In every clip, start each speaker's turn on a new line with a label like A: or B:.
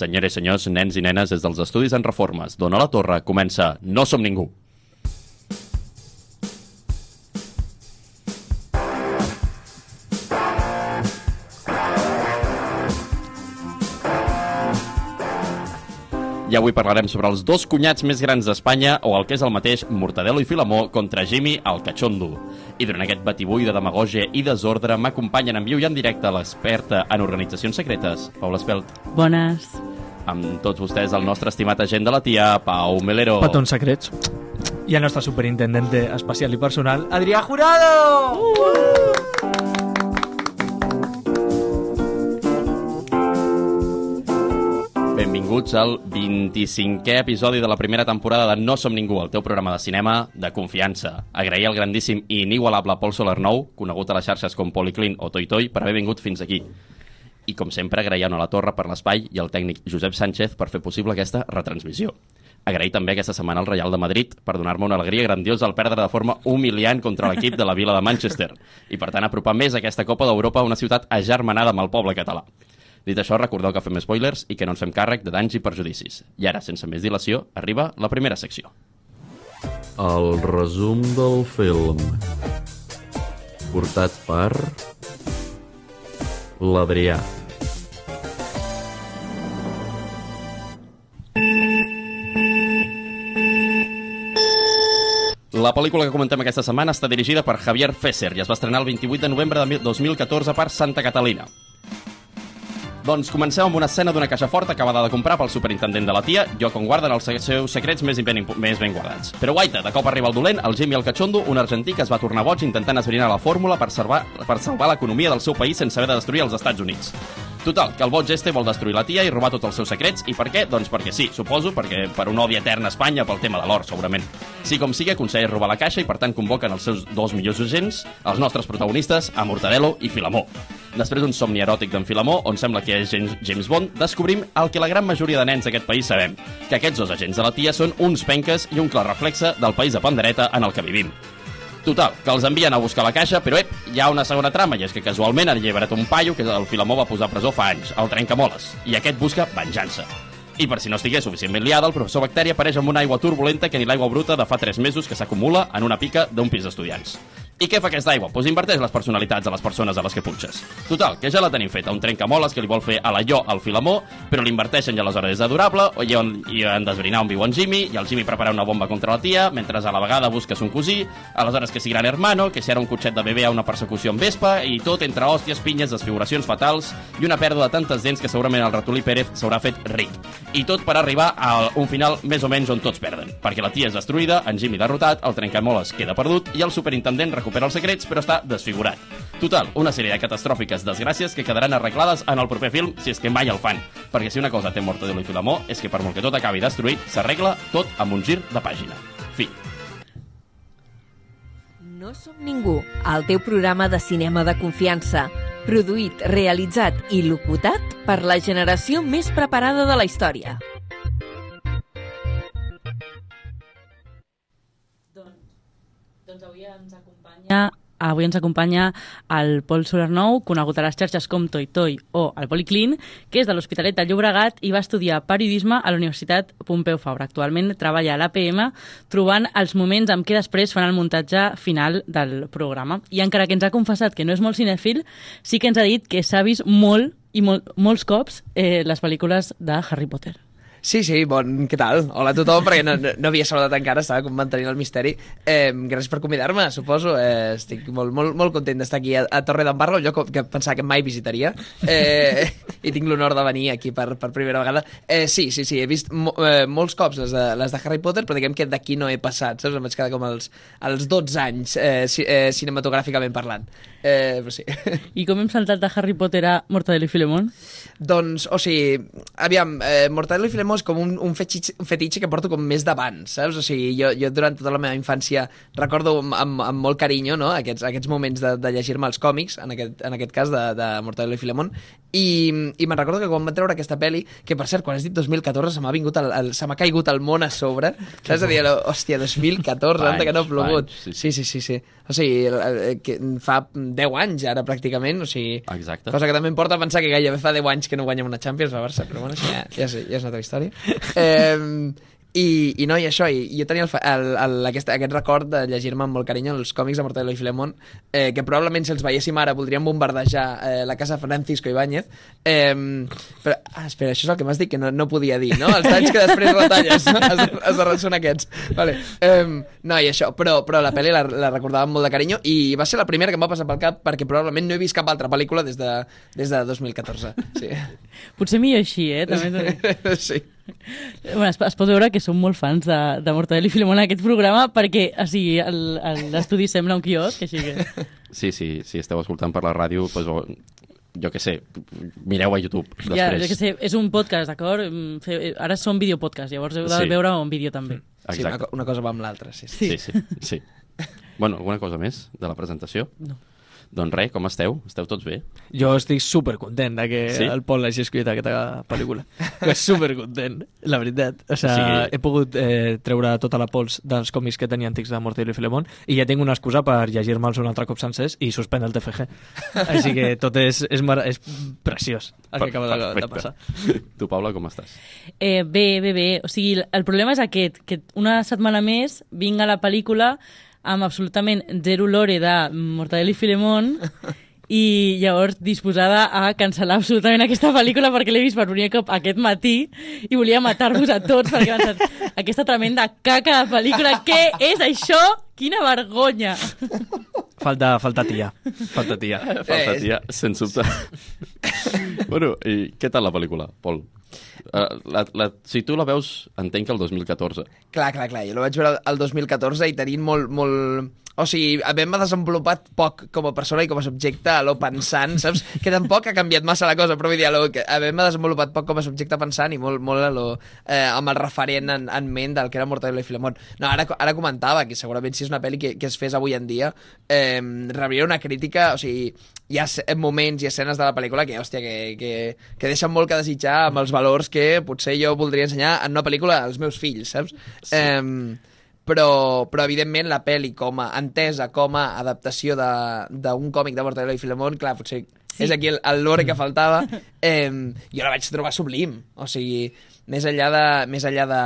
A: Senyores i senyors, nens i nenes, des dels Estudis en Reformes, Dona la Torre comença No som ningú. I avui parlarem sobre els dos cunyats més grans d'Espanya o el que és el mateix Mortadelo i Filamó contra Jimmy el Cachondo. I durant aquest batibull de demagogia i desordre m'acompanyen en viu i en directe l'experta en organitzacions secretes, Paula Espelt.
B: Bones.
A: Amb tots vostès el nostre estimat agent de la tia, Pau Melero.
C: Patons secrets. Oh. I el nostre superintendente espacial i personal, Adrià Jurado! Uh!
A: Benvinguts al 25è episodi de la primera temporada de No som ningú, el teu programa de cinema de confiança. Agrair al grandíssim i inigualable Pol Soler Nou, conegut a les xarxes com Policlin o Toi Toi, per haver vingut fins aquí. I, com sempre, agrair a Nola Torre per l'espai i al tècnic Josep Sánchez per fer possible aquesta retransmissió. Agrair també aquesta setmana al Reial de Madrid per donar-me una alegria grandiosa al perdre de forma humiliant contra l'equip de la vila de Manchester i, per tant, apropar més aquesta Copa d'Europa a una ciutat agermanada amb el poble català. Dit això, recordeu que fem spoilers i que no ens fem càrrec de danys i perjudicis. I ara, sense més dilació, arriba la primera secció.
D: El resum del film portat per l'Adrià.
A: La pel·lícula que comentem aquesta setmana està dirigida per Javier Fesser i es va estrenar el 28 de novembre de mil- 2014 per Santa Catalina. Doncs comencem amb una escena d'una caixa forta acabada de comprar pel superintendent de la tia, jo com guarden els se- seus secrets més ben, impu- més ben guardats. Però guaita, de cop arriba el dolent, el Jimmy el Cachondo, un argentí que es va tornar boig intentant esbrinar la fórmula per salvar, per salvar l'economia del seu país sense haver de destruir els Estats Units. Total, que el boig este vol destruir la tia i robar tots els seus secrets. I per què? Doncs perquè sí, suposo, perquè per un odi etern a Espanya pel tema de l'or, segurament. Sí com sigui, aconsegueix robar la caixa i per tant convoquen els seus dos millors agents, els nostres protagonistes, a Mortadelo i Filamó. Després d'un somni eròtic d'en Filamó, on sembla que és James- James Bond, descobrim el que la gran majoria de nens d'aquest país sabem, que aquests dos agents de la tia són uns penques i un clar reflexe del país de pandereta en el que vivim. Total, que els envien a buscar la caixa, però ep, hi ha una segona trama, i és que casualment han alliberat un paio que el Filamó va posar a presó fa anys, el trencamoles, i aquest busca venjança. I per si no estigués suficientment liada, el professor Bacteri apareix amb una aigua turbulenta que ni l'aigua bruta de fa 3 mesos que s'acumula en una pica d'un pis d'estudiants. I què fa aquesta aigua? Doncs inverteix les personalitats de les persones a les que punxes. Total, que ja la tenim feta, un trencamoles que li vol fer a la jo al Filamó, però l'inverteixen i aleshores és adorable, o i, on, i han d'esbrinar on viu en Jimmy, i el Jimmy prepara una bomba contra la tia, mentre a la vegada busca son cosí, aleshores que si gran hermano, que si era un cotxet de bebè a una persecució amb Vespa, i tot entre hòsties, pinyes, desfiguracions fatals i una pèrdua de tantes dents que segurament el ratolí Pérez s'haurà fet ric. I tot per arribar a un final més o menys on tots perden, perquè la tia és destruïda, en Jimmy derrotat, el trencamoles queda perdut i el superintendent recupera els secrets però està desfigurat. Total, una sèrie de catastròfiques desgràcies que quedaran arreglades en el proper film si és que mai el fan, perquè si una cosa té Mortadelo i Filamó és que per molt que tot acabi destruït, s'arregla tot amb un gir de pàgina. Fi.
E: No som ningú, el teu programa de cinema de confiança. Produït, realitzat i locutat per la generació més preparada de la història.
B: Doncs avui ens acompanya... Avui ens acompanya el Pol Solernou, conegut a les xarxes com Toi Toi o el Policlin, que és de l'Hospitalet de Llobregat i va estudiar periodisme a la Universitat Pompeu Fabra. Actualment treballa a l'APM trobant els moments en què després fan el muntatge final del programa. I encara que ens ha confessat que no és molt cinèfil, sí que ens ha dit que s'ha vist molt i mol, molts cops eh, les pel·lícules de Harry Potter.
F: Sí, sí, bon... Què tal? Hola a tothom, perquè no, no, no havia saludat encara, estava com mantenint el misteri. Eh, gràcies per convidar-me, suposo. Eh, estic molt, molt, molt content d'estar aquí a, a Torre d'Embarra, un lloc que pensava que mai visitaria, eh, i tinc l'honor de venir aquí per, per primera vegada. Eh, sí, sí, sí, he vist mo eh, molts cops les de, les de Harry Potter, però diguem que d'aquí no he passat, saps? Em vaig quedar com als, als 12 anys eh, ci eh, cinematogràficament parlant. Eh, però sí.
B: I com hem saltat de Harry Potter a Mortadelo i Filemón?
F: Doncs, o sigui, aviam, eh, Mortadelo i Filemó és com un, un, fetitxe, un fetitxe que porto com més d'abans, saps? O sigui, jo, jo durant tota la meva infància recordo amb, amb, amb molt carinyo no? aquests, aquests moments de, de llegir-me els còmics, en aquest, en aquest cas de, de Mortadelo i Filemón, i, i me'n recordo que quan van treure aquesta peli, que per cert, quan has dit 2014 se m'ha vingut el, el, se m'ha caigut el món a sobre, saps? És a dir, el- hòstia, 2014, anda que no ha
A: Panys,
F: plogut.
A: panys, sí, sí.
F: Sí, sí, sí, sí. O sigui, el- el- que fa 10 anys ara pràcticament, o sigui,
A: Exacte.
F: Cosa que també em porta a pensar que gairebé fa 10 anys que no guanyem una Champions a Barça, però bueno, això ja, ja, sé, ja és una altra història. Eh, i, I no, i això, i, jo tenia el, fa- el, el, aquest, aquest record de llegir-me amb molt carinyo els còmics de Mortadelo i Filemón, eh, que probablement si els veiéssim ara voldríem bombardejar eh, la casa Francisco Ibáñez. Eh, però, ah, espera, això és el que m'has dit que no, no podia dir, no? Els talls que després retalles, no? has, de- has de, són aquests. Vale. Eh, no, i això, però, però la pel·li la, la recordava amb molt de carinyo i va ser la primera que em va passar pel cap perquè probablement no he vist cap altra pel·lícula des de, des de 2014. Sí.
B: Potser millor així, eh? També t'ho dic.
F: sí.
B: Bueno, es, es pot veure que som molt fans de, de Mortadelo i Filemón en aquest programa perquè o sigui, el- el- l'estudi sembla un quiosc, així que...
A: Sí, sí, si esteu escoltant per la ràdio, doncs, o- jo què sé, mireu a YouTube després.
B: Ja, jo que sé, és un podcast, d'acord? Mm, fe- Ara són videopodcast, llavors heu de
A: Sí.
B: veure un vídeo també.
F: Sí, una,
A: Exacte.
F: co- una cosa va amb l'altra, sí.
A: Sí,
F: sí.
A: sí, sí. Bueno, alguna cosa més de la presentació? No. Doncs res, com esteu? Esteu tots bé?
C: Jo estic supercontent de que
A: Sí?
C: sí? el Pol hagi escrit aquesta pel·lícula. Que és supercontent, la veritat. O sigui,
A: sigui-
C: he pogut eh, treure tota la pols dels còmics que tenia antics de Mortadelo i Filemón i ja tinc una excusa per llegir-me'ls un altre cop sencers i suspendre el TFG. Així que tot és, és, mar... és preciós el que acaba de, de passar.
A: Tu, Paula, com estàs?
B: Eh, bé, bé, bé. O sigui, el problema és aquest, que una setmana més vinga la pel·lícula amb absolutament zero lore de Mortadelo i Filemón i llavors disposada a cancel·lar absolutament aquesta pel·lícula perquè l'he vist per primer cop aquest matí i volia matar-vos a tots perquè he pensat, aquesta tremenda caca de pel·lícula, què és això? Quina vergonya!
C: Falta, falta tia. Falta tia.
A: Falta, tia, sens dubte. bueno, i què tal la pel·lícula, Pol? Eh, La, la, si tu la veus, entenc que el 2014.
F: Clar, clar, clar. Jo la vaig veure el 2014 i tenint molt, molt... O sigui, havent-me desenvolupat poc com a persona i com a subjecte a lo pensant, saps? Que tampoc ha canviat massa la cosa, però vull dir, a lo que havent-me desenvolupat poc com a subjecte pensant i molt, molt a lo, eh, amb el referent en, en ment del que era Mortadelo i Filemón. No, ara, ara comentava que segurament si és una pel·li que, que es fes avui en dia, eh, rebria una crítica, o sigui, hi ha s- eh, moments i escenes de la pel·lícula que, hòstia, que, que, que deixen molt que desitjar amb els valors que potser jo voldria ensenyar en una pel·lícula als meus fills, saps? Sí. Eh, però, però evidentment la pel·li com a entesa, com a adaptació de- d'un còmic de Mortadelo i Filemón, clar, potser sí. és aquí el, el lore que faltava, eh, jo la vaig trobar sublim, o sigui, més enllà de... Més enllà de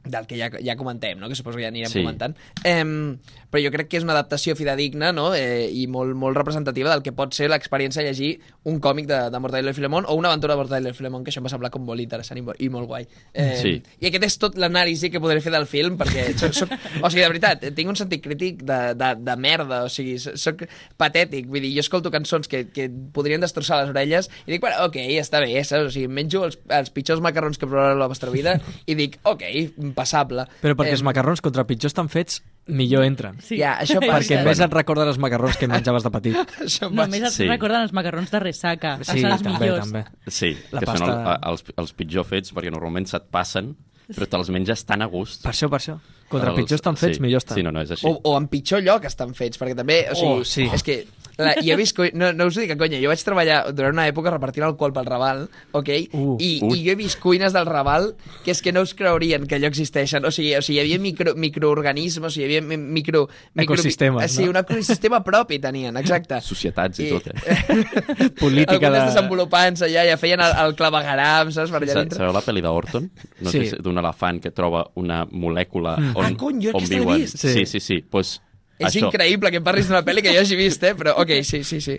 F: del que ja, ja comentem, no? que suposo que ja anirem
A: Sí.
F: sí. comentant. Eh, però jo crec que és una adaptació fidedigna no? eh, i molt, molt representativa del que pot ser l'experiència de llegir un còmic de, de Mortadelo i Filemón o una aventura de Mortadelo i Filemón, que això em va semblar com molt interessant i, mo- i molt guai. Eh,
A: Sí.
F: i aquest és tot l'anàlisi que podré fer del film, perquè soc, soc, o sigui, de veritat, tinc un sentit crític de, de, de merda, o sigui, so- soc patètic, vull dir, jo escolto cançons que, que et podrien destrossar les orelles i dic, bueno, ok, està bé, saps? O sigui, menjo els, els pitjors macarrons que provarà la vostra vida i dic, ok, passable. Eh,
C: Però perquè
F: Em,
C: els macarrons contra pitjor estan fets, millor entren.
B: Sí.
F: Ja, això passa.
C: Perquè més et recorden els macarrons que menjaves de petit.
F: Això passa.
B: Només et
A: Sí.
B: sí. recorden els macarrons de ressaca, que
C: Sí,
B: són els
C: també,
B: millors.
C: també.
A: Sí,
C: La
A: que
C: pasta-
A: són el, els, els pitjor fets, perquè normalment se't passen, però te'ls menges tan a gust.
C: Per això, per això. Contra
A: Els-
C: pitjor estan fets,
A: sí.
C: millor Oh. estan.
A: Sí, no, no, és així.
F: o, o en pitjor lloc estan fets, perquè també, o sigui,
C: Oh, sí.
F: és que la, jo he vist, co- no, no us ho dic a conya, jo vaig treballar durant una època repartint alcohol pel Raval, ok?
C: Uh.
F: I,
A: Ui.
F: I jo he vist cuines del Raval que és que no us creurien que allò existeixen, o sigui, o sigui hi havia micro, microorganismes, o sigui, hi havia mi- micro... micro
C: Ecosistemes,
F: eh, Sí,
C: no?
F: un ecosistema propi tenien, exacte.
A: Societats i,
F: I-
A: tot, eh?
C: Política
F: Algunes
C: de-
F: desenvolupants allà, ja feien el, el clavegaram, saps? Per allà
A: Sa-
F: dintre.
A: Sabeu la pel·li d'Horton? No
C: Sí.
A: sí. D'un elefant que troba una molècula on,
F: Ah, cony, jo
A: on
F: aquesta l'he
A: viuen.
F: vist.
A: Sí,
C: Sí.
A: sí, sí. Pues,
F: És
A: això,
F: increïble que em parlis d'una pel·li que jo hagi vist, eh? Però, ok, sí, sí, sí.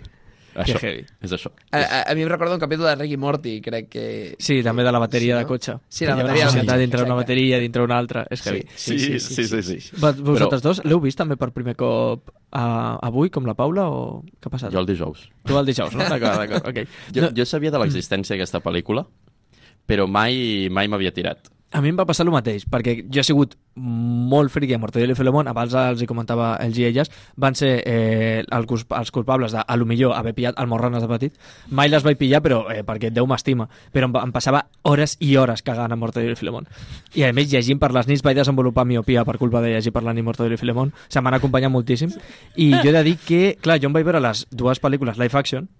A: Això,
C: Que heavy.
A: és això.
F: A, a, a mi em recorda un capítol de Rick i Morty, crec que...
C: Sí, també de la bateria sí,
F: Sí, no?
C: de cotxe.
F: Sí, la
C: Hi ha
F: bateria de
C: Una societat
F: cotxe,
C: dintre una
F: exacte.
C: bateria, dintre una altra.
F: ah,
C: És que sí.
A: Sí, sí, sí. sí, sí, sí, sí.
C: Vosaltres dos l'heu vist també per primer cop uh, avui, com la Paula, o què ha passat?
A: Jo el dijous.
C: Tu el dijous, no? D'acord, d'acord, ok.
A: Jo,
C: No, Mm.
A: jo sabia de l'existència d'aquesta pel·lícula, però mai mai m'havia tirat.
C: A mi em va passar el mateix, perquè jo he sigut molt friqui a Mortadelo i Filemón, abans els hi comentava els i elles, van ser eh, el cus- els culpables de, a lo millor, haver pillat almorranes de petit. Mai les vaig pillar, però eh, perquè Déu m'estima. Però em, va- em passava hores i hores cagant a Mortadelo i Filemón. I a més, llegint per les nits vaig desenvolupar miopia per culpa de llegir per la nit Mortadelo i Filemón. Se m'han acompanyat moltíssim. I jo he de dir que, clar, jo em vaig veure les dues pel·lícules live action,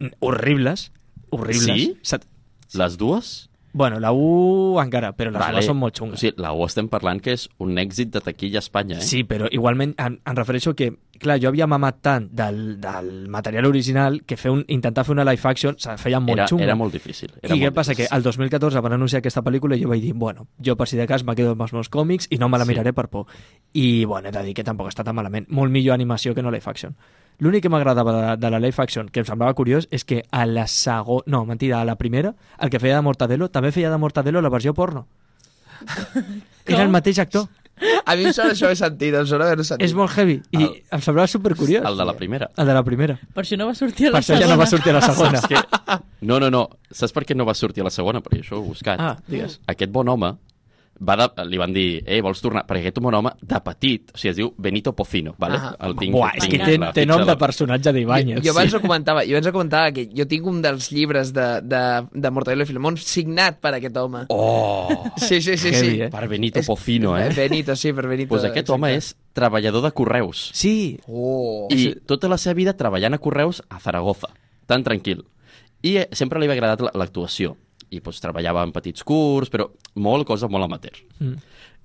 C: mm, horribles, horribles.
A: Sí?
C: Set-
A: Les dues?
C: Bueno, la 1 encara, però les vale. dues són molt xungues.
A: O sigui, la U estem parlant que és un èxit de taquilla a Espanya, eh?
C: Sí, però igualment em, em refereixo que clar, jo havia mamat tant del, del material original que fer un, intentar fer una live action se feia molt
A: era,
C: xunga.
A: era molt difícil. Era
C: I què
A: molt
C: passa? Que
A: difícil.
C: el 2014 van anunciar aquesta pel·lícula i jo vaig dir, bueno, jo per si de cas me quedo amb els meus còmics i no me la
A: Sí.
C: miraré per por. I, bueno, he de dir que tampoc està tan malament. Molt millor animació que no live action. L'únic que m'agradava de, de la live action, que em semblava curiós, és que a la segona... No, mentida, a la primera, el que feia de Mortadelo, també feia de Mortadelo la versió porno. Era el mateix actor.
F: A mi em sona això he sentit, em sona haver-ho sentit.
C: És molt heavy. I
A: El-
C: em semblava supercuriós.
A: El de la primera.
C: El de la primera.
B: Per això no va sortir a
C: Per
B: la
C: això
B: segona.
C: ja no va sortir a la segona.
A: Saps que... No, no, no. Saps per què no va sortir a la segona? Perquè això ho he buscat.
C: Ah, digues.
A: Aquest bon home va de... li van dir, eh, vols tornar? Perquè aquest bon home, de petit, o sigui, es diu Benito Pocino, vale?
F: Ah,
A: el tinc,
C: Buah, és
A: tinc
C: que té,
A: la
C: té
A: fitxa
C: nom de
A: del-
C: personatge d'Ibáñez.
F: Jo, jo abans ho comentava, jo abans ho comentava que jo tinc un dels llibres de, de, de Mortadelo i Filemón signat per aquest home.
A: Oh!
F: Sí, sí, sí.
C: Heavy,
F: sí.
C: eh?
A: Per Benito Pocino, eh?
F: Benito, sí, per Benito.
A: Doncs pues aquest home és treballador de correus.
C: Sí,
F: Oh.
A: I tota la seva vida treballant a Correus a Zaragoza, tan tranquil. I eh, sempre li havia agradat la- l'actuació. I doncs, treballava en petits curts, però molt, cosa molt amateur.
C: Mm.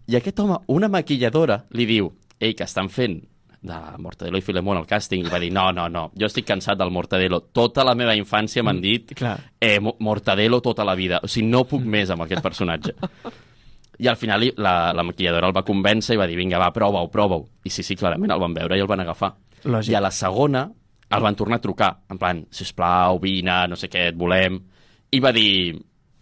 A: I aquest home, una maquilladora, li diu «Ei, que estan fent de Mortadelo i Filemón al càsting», i va dir «No, no, no, jo estic cansat del Mortadelo. Tota la meva infància m'han dit
C: clar.
A: eh, Mo- Mortadelo tota la vida. O sigui, no puc més amb aquest personatge. I al final li- la, la maquilladora el va convèncer i va dir, vinga, va, prova-ho, prova-ho. I sí, sí, clarament el van veure i el van agafar.
C: Lògic.
A: I a la segona el van tornar a trucar, en plan, sisplau, vine, no sé què, et volem. I va dir,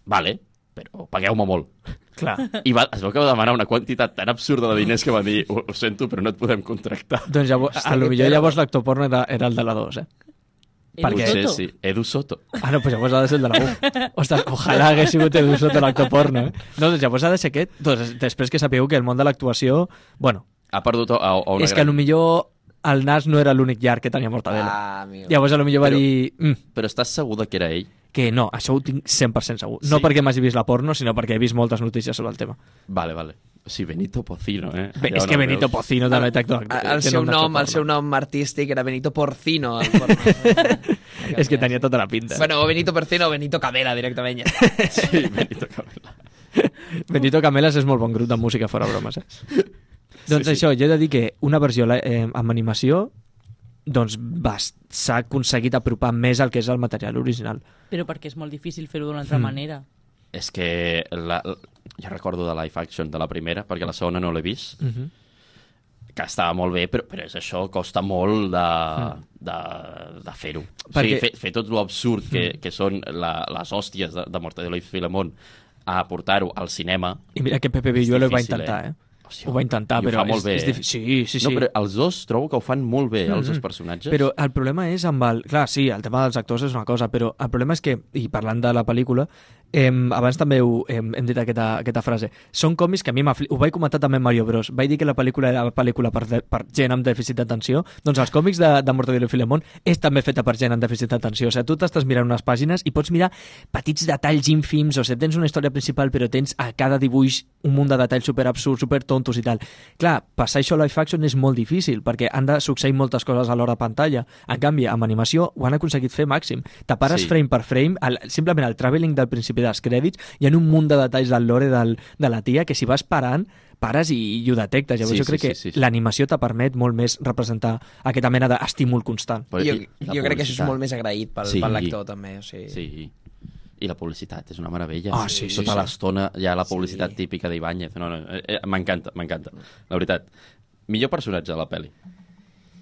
A: vale, però pagueu-me molt.
C: clar.
A: I va, es veu que va demanar una quantitat tan absurda de diners que va dir, ho, ho sento, però no et podem contractar.
C: Doncs llavors, a lo millor llavors l'actor porno era, era el de la 2, eh?
B: Edu
C: perquè-
A: Potser
B: Soto.
A: sí, Edu Soto.
C: Ah, no, doncs llavors ha de ser el de la 1. Ostres, ojalà hagués sigut el de l'actor porno, eh? No, doncs llavors ha de ser aquest. Doncs després que sapigueu que el món de l'actuació... Bueno,
A: Ha perdut a, a una
C: és que a lo
A: gran...
C: millor el nas no era l'únic llarg que tenia Mortadelo. Ah,
F: Ah, amigo.
C: llavors a lo millor va
A: Però-
C: dir... Mm,
A: Però estàs segur de que era ell?
C: que no, això ho tinc 100% segur. No
A: Sí.
C: perquè m'hagi vist la porno, sinó perquè he vist moltes notícies sobre el tema.
A: Vale, vale. O sigui, Benito Pocino, eh?
C: Bé,
A: Ja
C: és
A: no
C: que
A: el
C: Benito
A: veus.
C: Pocino també té actor.
F: El,
C: té
F: seu
C: d'actor
F: nom, el
C: porno.
F: seu nom artístic era Benito Porcino. El porno.
C: És que tenia tota la pinta.
F: bueno, o Benito Porcino o Benito Camela, directament. Ja.
A: Sí, Benito Camela.
C: Benito Camelas és molt bon grup de música, fora bromes, eh? doncs
A: sí.
C: això, jo he de dir que una versió la- eh, amb animació doncs va- s'ha aconseguit apropar més al que és el material original.
B: Però perquè és molt difícil fer-ho d'una altra manera.
A: És que la, ja recordo de Life Action, de la primera, perquè la segona no l'he vist,
C: Uh -huh.
A: que estava molt bé, però, però és això, costa molt de, de, de fer-ho. O sigui,
C: Mm. Perquè- Mm.
A: fer, fer tot l'absurd que, que són la, les hòsties de, de Mortadelo i Filemón a portar-ho al cinema.
C: I mira que Pepe Villuelo ho va
A: difícil,
C: intentar, eh?
A: eh?
C: eh? ho va intentar,
A: I ho
C: però
A: fa molt
C: és,
A: bé,
C: és
A: eh?
C: difí- Sí, sí, sí.
A: No, però els dos trobo que ho fan molt bé, els dos personatges.
C: Però el problema és amb el... Clar, sí, el tema dels actors és una cosa, però el problema és que, i parlant de la pel·lícula, em, abans també ho, em, hem dit aquesta, aquesta frase, són còmics que a mi m'ha... fli- Ho vaig comentar també amb Mario Bros. Vaig dir que la pel·lícula era pel·lícula per, de, per gent amb dèficit d'atenció. Doncs els còmics de, de Mortadelo i Filemón és també feta per gent amb dèficit d'atenció. O sigui, tu t'estàs mirant unes pàgines i pots mirar petits detalls ínfims, o sigui, tens una història principal però tens a cada dibuix un munt de detalls super absurds, super tontos i tal. Clar, passar això a live action és molt difícil perquè han de succeir moltes coses a l'hora de pantalla. En canvi, amb animació ho han aconseguit fer màxim. T'apares
A: Sí.
C: sí. frame per frame, el, simplement el travelling del principi dels crèdits, hi ha un munt de detalls del lore del, de la tia que si vas parant, pares i, i ho detectes. Llavors
A: Sí,
C: sí, jo crec
A: sí,
C: sí, que
A: sí,
C: sí,
A: sí.
C: sí. l'animació te permet molt més representar aquesta mena d'estímul constant.
A: Però-
F: Jo,
A: i la
F: jo crec que això és
A: publicitat.
F: molt més agraït pel,
A: Sí.
F: sí. per l'actor, també. O sigui, sí.
A: Sí, i la publicitat és una meravella.
C: Ah, sí, sí,
A: Tota
C: sí.
A: l'estona hi ha la publicitat
F: Sí.
A: sí. típica d'Ibáñez. No, no, eh, eh, m'encanta, m'encanta. La veritat. Millor personatge de la pel·li.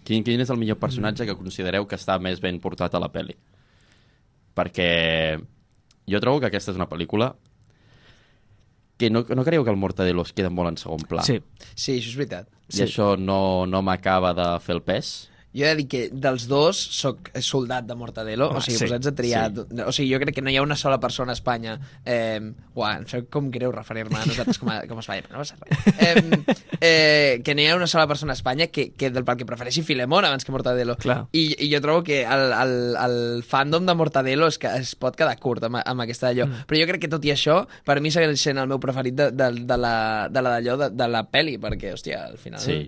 A: Quin, quin és el millor personatge que considereu que està més ben portat a la pel·li? Perquè jo trobo que aquesta és una pel·lícula que no, no creieu que el Mortadelo es queda molt en segon pla.
C: Sí.
F: sí, això és veritat.
A: I això no, no m'acaba de fer el pes.
F: Jo he de dir que dels dos sóc soldat de Mortadelo,
C: Home,
F: o sigui,
C: sí,
F: sí, posats a triar...
A: sí.
F: O sigui, jo crec que no hi ha una sola persona a Espanya... Eh, uà, em sap com greu referir-me a nosaltres com a, com a Espanya, però no passa res. Eh, eh, que no hi ha una sola persona a Espanya que, que del pel que prefereixi Filemón abans que Mortadelo.
C: Clar.
F: I, I jo trobo que el, el, el fandom de Mortadelo és que es pot quedar curt amb, amb aquesta d'allò. Mm. Però jo crec que tot i això, per mi segueix sent el meu preferit de, de, de la de la d'allò, de, de la peli, perquè, hòstia, al final...
A: Sí.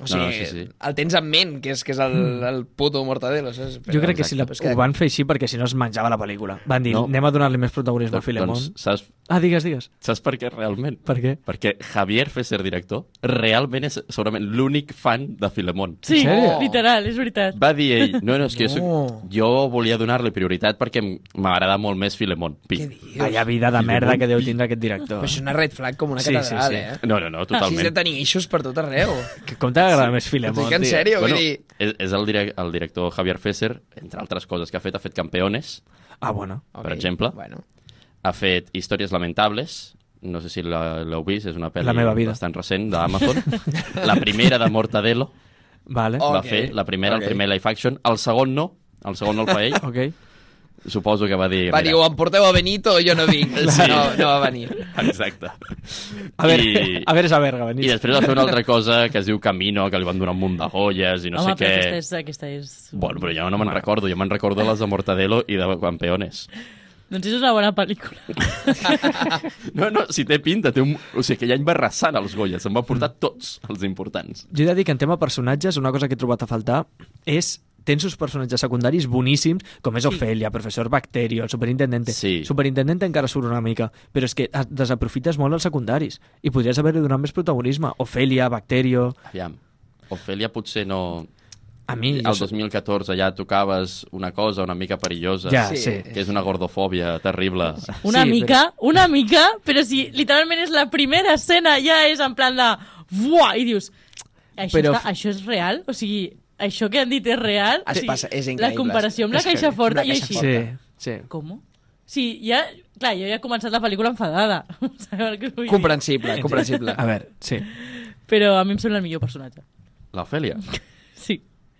F: O sigui, no, no, sí, sí. el tens en ment, que és, que és el, el puto Mortadelo, saps?
C: jo crec que si la,
F: Però és que-
C: ho van fer així perquè si no es menjava la pel·lícula. Van dir,
A: No.
F: Doncs-
C: no. anem a donar-li més protagonisme a Filemon.
A: Doncs, saps,
C: Ah, digues, digues.
A: Saps per què realment?
C: Per què?
A: Perquè Javier Fesser, director, realment és segurament l'únic fan de Filemón.
B: Sí,
C: sèrio?
B: literal, és veritat.
A: Va dir ell, no, no, és que no. jo, soc,
F: No.
A: jo volia donar-li prioritat perquè m- m'agrada molt més Filemón. Pi.
F: Què dius?
C: Vaya vida de merda que deu tindre aquest
F: Però
C: director.
F: això és una red flag com una
C: Sí,
F: sí, catedral,
C: sí, sí.
F: sí, sí. eh?
A: No, no, no,
F: Totalment. Sí,
A: totalment.
F: has de tenir eixos per tot arreu.
C: Que com t'agrada més
F: T'ho
C: Filemón,
F: dic en
C: tio?
F: sèrio, vull
A: Bueno,
F: dir...
A: és, és el, direc el director Javier Fesser, entre altres coses que ha fet, ha fet Campeones,
C: Ah, bueno.
A: per
F: Ok,
A: exemple.
F: Bueno.
A: ha fet Històries Lamentables, no sé si la- l'heu vist, és una pel·li
C: La meva vida.
A: bastant recent d'Amazon. la primera de Mortadelo
C: Vale.
F: Oh.
A: va
F: Ok,
A: fer, la primera,
F: ok.
A: el primer live action. El segon no, el segon no el fa ell.
C: Ok.
A: Suposo que va dir...
F: Va dir,
A: mira,
F: o em porteu a Benito o jo no vinc.
A: Sí.
F: No, no va venir.
A: Exacte.
C: A veure,
A: I,
C: a veure, és a verga,
A: I
C: venir.
A: després va fer una altra cosa que es diu Camino, que li van donar un munt de joies i no
B: Home,
A: sé què.
B: però aquesta és... Aquesta és...
A: Bueno, però jo no me'n recordo. Jo me'n recordo les de Mortadelo i de Campeones.
B: Doncs és una bona pel·lícula.
A: No, no, si té pinta, té un... O sigui, aquell any va arrasant els Goyes, se'n va portar tots els importants.
C: Jo he de dir que en tema personatges, una cosa que he trobat a faltar és tens uns personatges secundaris boníssims, com és Ofelia, professor Bacterio, el superintendente.
A: Sí.
C: Superintendente encara surt una mica, però és que et desaprofites molt els secundaris i podries haver-li donat més protagonisme. Ofelia, Bacterio...
A: Aviam, Ofèlia potser no...
C: A mi...
A: El
C: jo sé-
A: 2014 ja tocaves una cosa una mica perillosa,
C: Ja,
F: Sí.
C: sí.
A: que és una gordofòbia terrible.
B: Una
C: Sí,
B: sí, mica, però... una mica, però si literalment és la primera escena, ja és en plan de... Buah! I dius, això,
C: Però-
B: però... està, això és real? O sigui, això que han dit és real?
F: Es
B: o sigui,
F: passa, és
B: La
F: increïble.
B: comparació amb la
F: És que-
B: caixa forta
F: una
B: i
F: caixa
B: així.
C: Sí, sí.
B: Com? Sí, ja... Clar, jo ja he començat la pel·lícula enfadada. Sabeu el que us vull dir?
F: Comprensible, comprensible.
C: A veure, sí.
B: Però a mi em sembla el millor personatge.
A: L'Ofèlia.
B: Sí.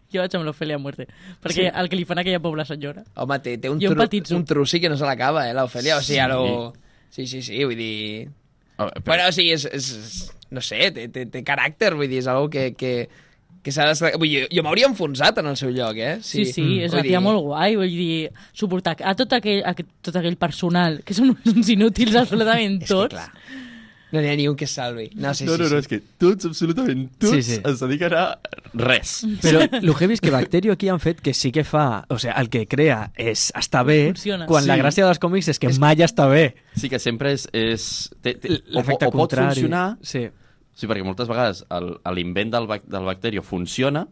B: Jo vaig amb l'Ofèlia a muerte. Perquè
C: Sí.
B: sí. el que li fan a aquella pobla senyora.
F: Home, té, té un,
B: I un
F: tru,
B: petitzo.
F: un trussi que no se l'acaba, eh, l'Ofèlia. O sigui, a lo... Sí, sí, sí, vull dir...
A: Ah,
F: Però... Bueno, o sigui, és, és, no sé, té, té, té caràcter, vull dir, és algo que, que, que s'ha de... Vull dir, jo m'hauria enfonsat en el seu lloc, eh?
B: Sí, sí, sí és
F: Vull
B: una tia
F: dir,
B: molt guai, vull dir, suportar a tot aquell, a tot aquell personal, que són uns inútils absolutament
F: És que,
B: tots.
F: clar, no n'hi ha ni un que es salvi. No, sí,
A: no,
F: sí,
A: no, no,
F: sí.
A: és que tots, absolutament tots,
C: Sí, sí.
A: es dediquen a res.
C: Però el heavy és que Bacterio aquí han fet que sí que fa... O sigui, el que crea és està bé,
B: Funciona.
C: quan la
A: Sí.
C: gràcia dels còmics és que mai està bé.
A: Sí que sempre és... és té, té, o, po-
C: L'efecte
A: o pot
C: contrari.
A: funcionar,
C: Sí.
A: sí, perquè moltes vegades el- l'invent del, bac, del bacterio funciona,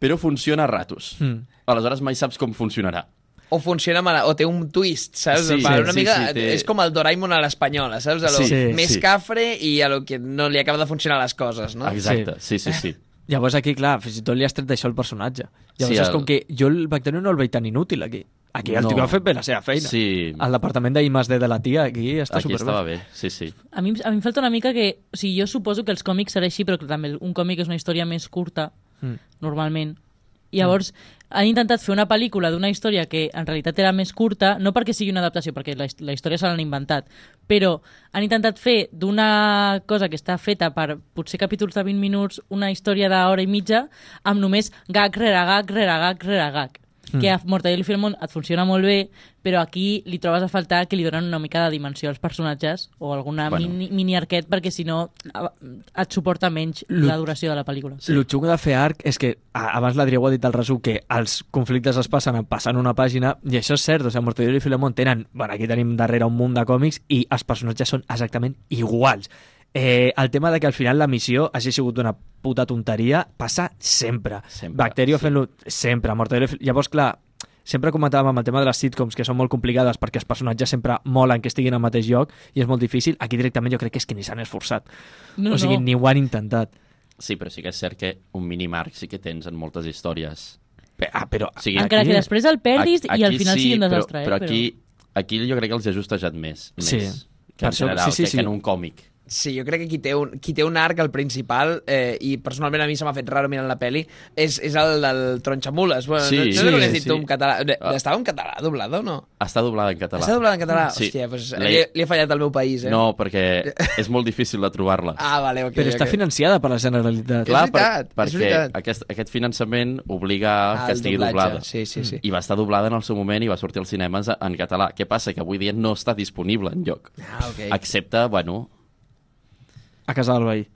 A: però funciona a ratos.
C: Mm.
A: Aleshores mai saps com funcionarà.
F: O funciona mal, o té un twist, saps?
A: Sí,
F: Sí, per
A: sí,
F: una
A: sí,
F: mica,
A: sí, té-
F: És com el Doraemon a l'espanyola, saps? A lo
A: Sí,
F: sí,
C: sí.
F: més
A: sí.
F: cafre i a lo que no li acaba de funcionar les coses, no?
A: Exacte, sí, sí, sí.
C: Llavors aquí, clar, fins i tot li has tret això al personatge. Llavors
A: Sí,
C: sí,
A: el-
C: és com que jo el Bacterio no el veig tan inútil aquí. Aquí el
A: No.
C: no. tio ha fet bé la seva feina.
A: Sí.
C: El departament d'I+D de la tia aquí està
A: Aquí
C: superbé.
A: estava bé, sí, sí.
B: A mi, a mi em falta una mica que... O sigui, jo suposo que els còmics serà així, però que també un còmic és una història més curta,
C: Mm.
B: normalment. I llavors han intentat fer una pel·lícula d'una història que en realitat era més curta, no perquè sigui una adaptació, perquè la, his- la història se l'han inventat, però han intentat fer d'una cosa que està feta per potser capítols de 20 minuts una història d'hora i mitja amb només gag rere gag rere gag rere gag. Mm. Que a Mortadelo i Filemón et funciona molt bé, però aquí li trobes a faltar que li donen una mica de dimensió als personatges o alguna
A: Bueno.
B: bueno. mini, mini arquet perquè si no a- et suporta menys
C: Lo-
B: la duració de la pel·lícula.
C: Sí. El xungo de fer arc és que, a- abans l'Adrià ho ha dit al resum, que els conflictes es passen passant una pàgina, i això és cert, o sigui, Mortadelo i Filemón tenen, bueno, aquí tenim darrere un munt de còmics, i els personatges són exactament iguals. Eh, el tema de que al final la missió hagi sigut una puta tonteria passa sempre.
A: Sempre,
C: Bacterio
A: sí.
C: fent-lo sempre, Mortadelo... i Fil- Llavors, clar, sempre comentàvem amb el tema de les sitcoms que són molt complicades perquè els personatges sempre molen que estiguin al mateix lloc i és molt difícil. Aquí directament jo crec que és que ni s'han esforçat.
B: No,
C: o sigui,
B: no.
C: ni ho han intentat.
A: Sí, però sí que és cert que un mínim arc sí que tens en moltes històries.
C: Pe- Ah, però...
A: O sigui,
B: Encara que després el perdis
A: Aquí-
B: i al
A: aquí
B: final
A: sí,
B: sigui un
A: però-
B: desastre. eh,
A: Però, aquí, aquí jo crec que els he ajustejat més. més
C: Sí.
A: Que
C: Per
A: en
C: això-
A: general,
C: sí, sí,
A: que,
C: sí.
A: que en un còmic.
F: Sí, jo crec que qui té un, qui té un arc, el principal, eh, i personalment a mi se m'ha fet raro mirant la peli, és, és el del Tronxamules. Bueno,
A: Sí,
F: no, no sé com
A: sí,
F: l'has dit
A: sí.
F: tu en català. Eh,
A: Ah.
F: Estava en català doblada o no?
A: Està doblada en català. Mm.
F: Està doblada en català?
A: Sí.
F: Hòstia, pues,
A: La-
F: li, li he fallat al meu país, eh?
A: No, perquè és molt difícil de trobar-la.
F: Ah, vale, ok.
C: Però està
F: ok.
C: financiada per la Generalitat.
F: Clar. és veritat, és
A: perquè
F: veritat.
A: Aquest, aquest finançament obliga
F: Ah,
A: que
F: el
A: estigui
F: doblatge.
A: doblada.
F: Sí, sí, sí.
A: I va estar doblada en el seu moment i va sortir als cinemes en català. Què passa? Que avui dia no està disponible en lloc.
F: Ah, ok.
A: Excepte, bueno,
C: A casa del veí.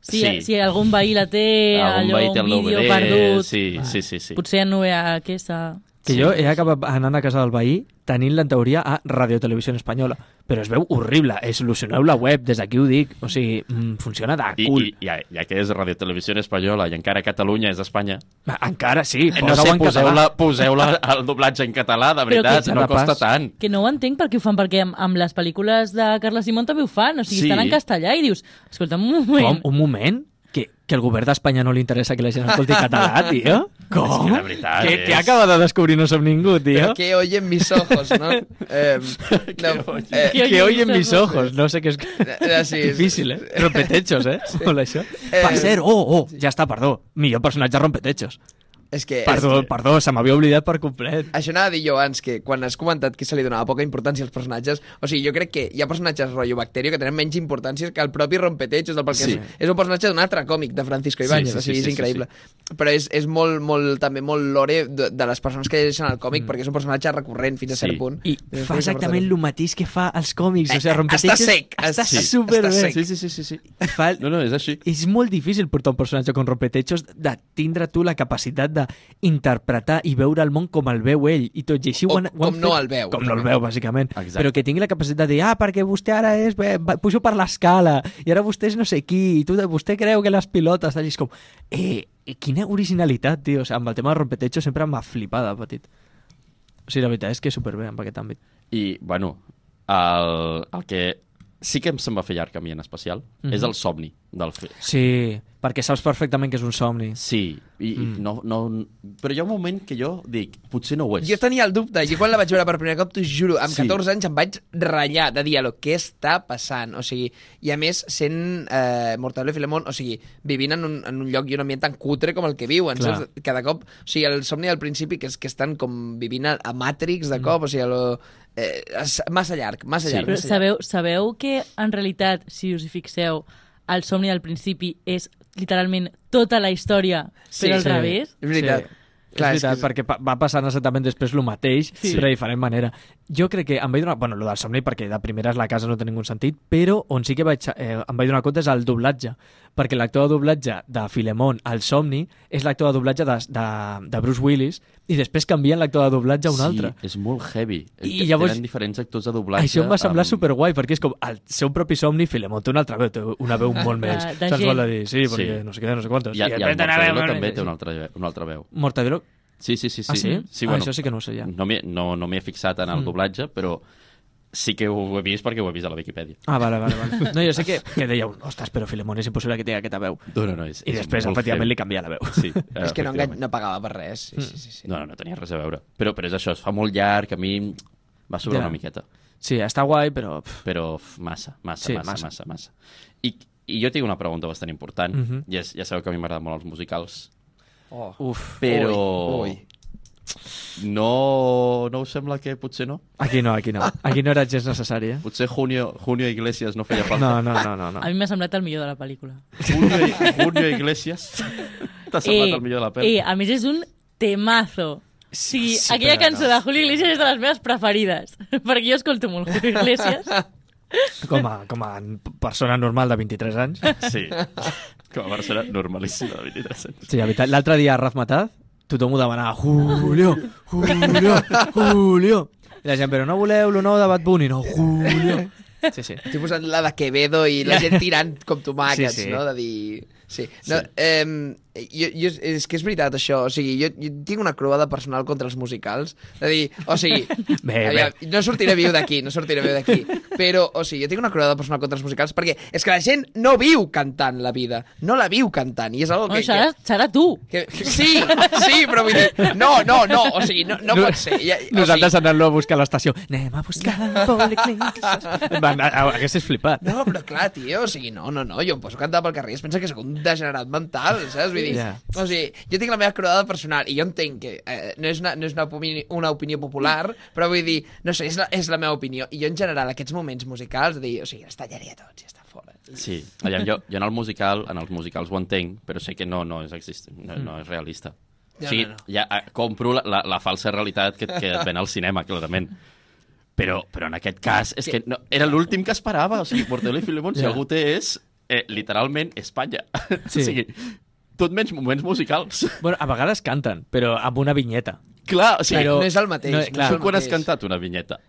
B: Si,
A: sí.
B: sí. si algun veí la té,
A: algun
B: Eh, allò,
A: veí té
B: un
A: el
B: vídeo
A: DVD,
B: perdut...
A: Sí, sí, sí, sí.
B: Potser no hi ha aquesta...
C: que sí, jo he acabat anant a casa del veí tenint-la en teoria a Radio Televisió Espanyola, però es veu horrible, és solucioneu la web, des d'aquí ho dic, o sigui, mm, funciona de
A: I,
C: cul.
A: i, ja, ja que és Radio Televisió Espanyola i encara Catalunya és Espanya,
C: Encara sí,
A: Eh, no
C: posa-ho
A: sé,
C: en
A: poseu-la
C: català.
A: poseu al doblatge en català, de
B: Però
A: veritat,
B: que-
A: no costa
C: Pas.
A: tant.
B: Que no ho entenc perquè ho fan, perquè amb, amb les pel·lícules de Carla Simón també ho fan, o sigui,
A: Sí.
B: estan en castellà i dius, escolta'm un moment,
C: Com? Un moment? Que, que el govern d'Espanya no li interessa que la gent escolti català, tio? Com?
A: És que la veritat
C: que,
A: és-
C: que acaba de descobrir No som ningú, tio.
F: Que oyen mis ojos, ¿no? Eh, no, eh,
B: Que
C: que
B: oyen
C: oyen
B: mis
C: mis ojos. No sé què és...
F: Eh, sí, és-
C: Difícil, eh? Rompetechos, eh? Hola, això.
F: Eh,
C: Per cert, oh, oh, ja està, perdó. Millor personatge de rompetechos.
F: és que...
C: Perdó, perdó, se m'havia oblidat per complet.
F: Això anava a dir jo abans, que quan has comentat que se li donava poca importància als personatges, o sigui, jo crec que hi ha personatges rotllo Bacterio que tenen menys importància que el propi Rompetechos, del perquè
A: Sí.
F: sí. és, és un personatge d'un altre còmic de Francisco Ibáñez, sí, sí, o sigui, sí, és
A: sí,
F: increïble. Sí, sí. Però és, és molt, molt, també molt lore de, de les persones que llegeixen el còmic, mm. perquè és un personatge recurrent fins a
A: Sí.
F: cert punt.
C: I
F: Després
C: fa
F: comença a
C: exactament
F: portar-
C: el mateix que fa als còmics. O sigui,
F: Eh,
C: rompetechos...
F: està sec,
C: Està
F: sí,
C: superbé.
F: està sec.
A: Sí, sí, sí, sí, sí.
C: I Fa...
A: No, no, és així.
C: és molt difícil portar un personatge com Rompetechos de tindre tu la capacitat d'interpretar i veure el món com el veu ell i tot i així
F: O
C: ho han, ho han
F: com no
C: fet-
F: el veu.
C: com no el veu bàsicament,
A: Exacte.
C: però que tingui la capacitat de dir ah, perquè vostè ara és, eh, va- pujo per l'escala i ara vostè és no sé qui i tu, vostè creu que les pilotes tal, i és com, eh, eh, quina originalitat tio, o sigui, amb el tema de Rompetechos sempre m'ha flipat de petit o sigui, la veritat és que superbé en aquest àmbit
A: I, bueno, el, el que sí que em se'n va fer llarg a mi en especial mm
C: Mhm.
A: -hmm. és el somni del film.
C: sí, perquè saps perfectament que és un somni
A: Sí, i, mm. i no, no, però hi ha un moment que jo dic, potser no ho és.
F: Jo tenia el dubte, jo quan la vaig veure per primer cop, t'ho juro, amb
A: Sí.
F: 14 anys em vaig ratllar de diàleg, què està passant? O sigui, i a més, sent eh, Mortadelo i Filemón, o sigui, vivint en un, en un lloc i un ambient tan cutre com el que viuen,
C: Clar.
F: saps? Cada cop, o sigui, el somni del principi, que és que estan com vivint a, a Matrix de cop, o sigui, lo, eh, és massa llarg, massa
A: Mm. Sí.
F: llarg.
B: Però
F: massa
B: sabeu,
F: llarg.
B: sabeu que en realitat, si us hi fixeu, el somni del principi és literalment tota la història,
F: Sí,
B: però al
F: sí.
B: revés.
F: És
C: és
F: veritat. Clar, és que
C: veritat,
F: és-
C: perquè pa- va passant exactament després el mateix, sí. però de diferent manera. Jo crec que em vaig donar... Bueno, el del somni, perquè de primeres la casa no té ningun sentit, però on sí que vaig, eh, em vaig donar compte és el doblatge, perquè l'actor de doblatge de Filemón al somni és l'actor de doblatge de, de, de Bruce Willis i després canvien l'actor de doblatge a un
A: sí,
C: altre.
A: és molt heavy.
C: I
A: I
C: llavors-
A: llavors... Tenen diferents actors de doblatge.
C: Això em va semblar
A: amb-
C: superguai, perquè és com el seu propi somni, Filemón té una altra veu, té una veu molt
B: De-
C: més.
B: Ah, de
C: Saps
B: gent.
C: vol dir? Sí,
A: Sí.
C: perquè no sé què, no sé quantos.
A: I, i el
C: després té una veu
A: Mortadelo
C: molt
A: també
C: més.
A: té una altra, ve- una altra veu.
C: Mortadelo?
A: Sí, sí, sí. sí.
C: Ah, sí?
A: sí
C: Ah,
A: bueno,
C: això sí que no ho Mm. sé, ja.
A: No m'he no, no m'he fixat en el doblatge, però sí que ho he vist perquè ho he vist a la Viquipèdia.
C: Ah, vale, vale, vale. No, jo sé que, que dèieu, ostres, però Filemón és impossible que tingui aquesta veu.
A: No, no, no, és,
C: I
A: és
C: després,
A: molt
C: efectivament,
A: heavy.
C: li canvia la veu.
A: Sí, eh,
F: És que no, engany,
A: efectivament. Mm.
F: no pagava per res. Sí, sí, sí, sí.
A: No, no, no tenia res a veure. Però, però és això, es fa molt llarg, a mi em va sobrar
C: Ja.
A: una miqueta.
C: Sí, està guai, però... pff,
A: Però f- massa, massa,
C: Sí,
A: sí, massa,
C: massa.
A: massa, massa. I, I jo tinc una pregunta bastant important. Mm
C: Mhm.
A: -hmm. ja, ja sabeu que a mi m'agraden molt els musicals,
F: Oh.
C: Uf.
A: però...
F: Ui, ui.
A: No, no us sembla que potser no?
C: Aquí no, aquí no. Aquí no era gens necessari, eh?
A: Potser Junio, Junio Iglesias no feia falta.
C: No, no, no, no. no.
B: A mi m'ha semblat el millor de la pel·lícula.
A: Junio, Junio Iglesias t'ha semblat el millor de la pel·li.
B: eh, a més és un temazo. Sí,
C: Sí,
B: sí aquella
C: però
B: cançó no. de Julio Iglesias és de les meves preferides, perquè jo escolto molt Julio Iglesias.
C: Com a, com a persona normal de 23 anys.
A: Sí, com a persona normalíssima de 23 anys.
C: Sí, la veritat, l'altre dia a Razmataz tothom ho demanava Julio, Julio, Julio. I la gent, però no voleu lo nou de Bad Bunny? No, Julio. Sí, sí.
F: Estic posant la de Quevedo i la gent tirant com tomàquets,
C: Sí, sí.
F: sí, sí. no? De dir... Sí. No, eh, jo, jo, és que és veritat, això. O sigui, jo, jo tinc una croada personal contra els musicals. De dir, o sigui...
C: Bé,
F: aviam, No sortiré viu d'aquí, no sortiré viu d'aquí. Però, o sigui, jo tinc una croada personal contra els musicals perquè és que la gent no viu cantant la vida. No la viu cantant. I és algo
B: Bueno,
F: que...
B: serà,
F: que
B: serà tu.
F: que, sí, sí, però vull dir... No, no, no, o sigui, no, no pot ser. Ja, o
C: Nosaltres
F: sigui,
C: anant-lo a buscar a l'estació. Anem a buscar el policlinic. Aquest és flipat.
F: No, però clar, tio, o sigui, no, no, no, jo em poso a cantar pel carrer i es pensa que sóc un degenerat mental, saps? Vull dir,
C: Ja.
F: yeah. o sigui, jo tinc la meva croada personal i jo entenc que eh, no és, una, no és una, opini una opinió popular, però vull dir, no sé, és la, és la meva opinió. I jo, en general, aquests moments musicals, de dir, o sigui, els tallaré a tots i està fora.
A: Sí, Allà, jo, jo en el musical, en els musicals ho entenc, però sé que no, no, és, exist, no,
C: Mm.
A: no és realista.
F: No,
A: o sigui,
F: no, no.
A: ja eh, compro la, la, la falsa realitat que, que et ven al cinema, clarament. Però, però en aquest cas, és que no, era l'últim que esperava. O sigui, Mortadelo i Filemón, si
C: Ja.
A: algú té, és eh, literalment Espanya.
C: Sí.
A: o sigui, tot menys moments musicals.
C: Bueno, a vegades canten, però amb una vinyeta.
A: Clar, o sigui,
C: Però-
A: Però...
F: no és el mateix.
C: no,
F: No,
C: clar.
F: és el
A: tu quan has
F: mateix.
A: cantat una vinyeta?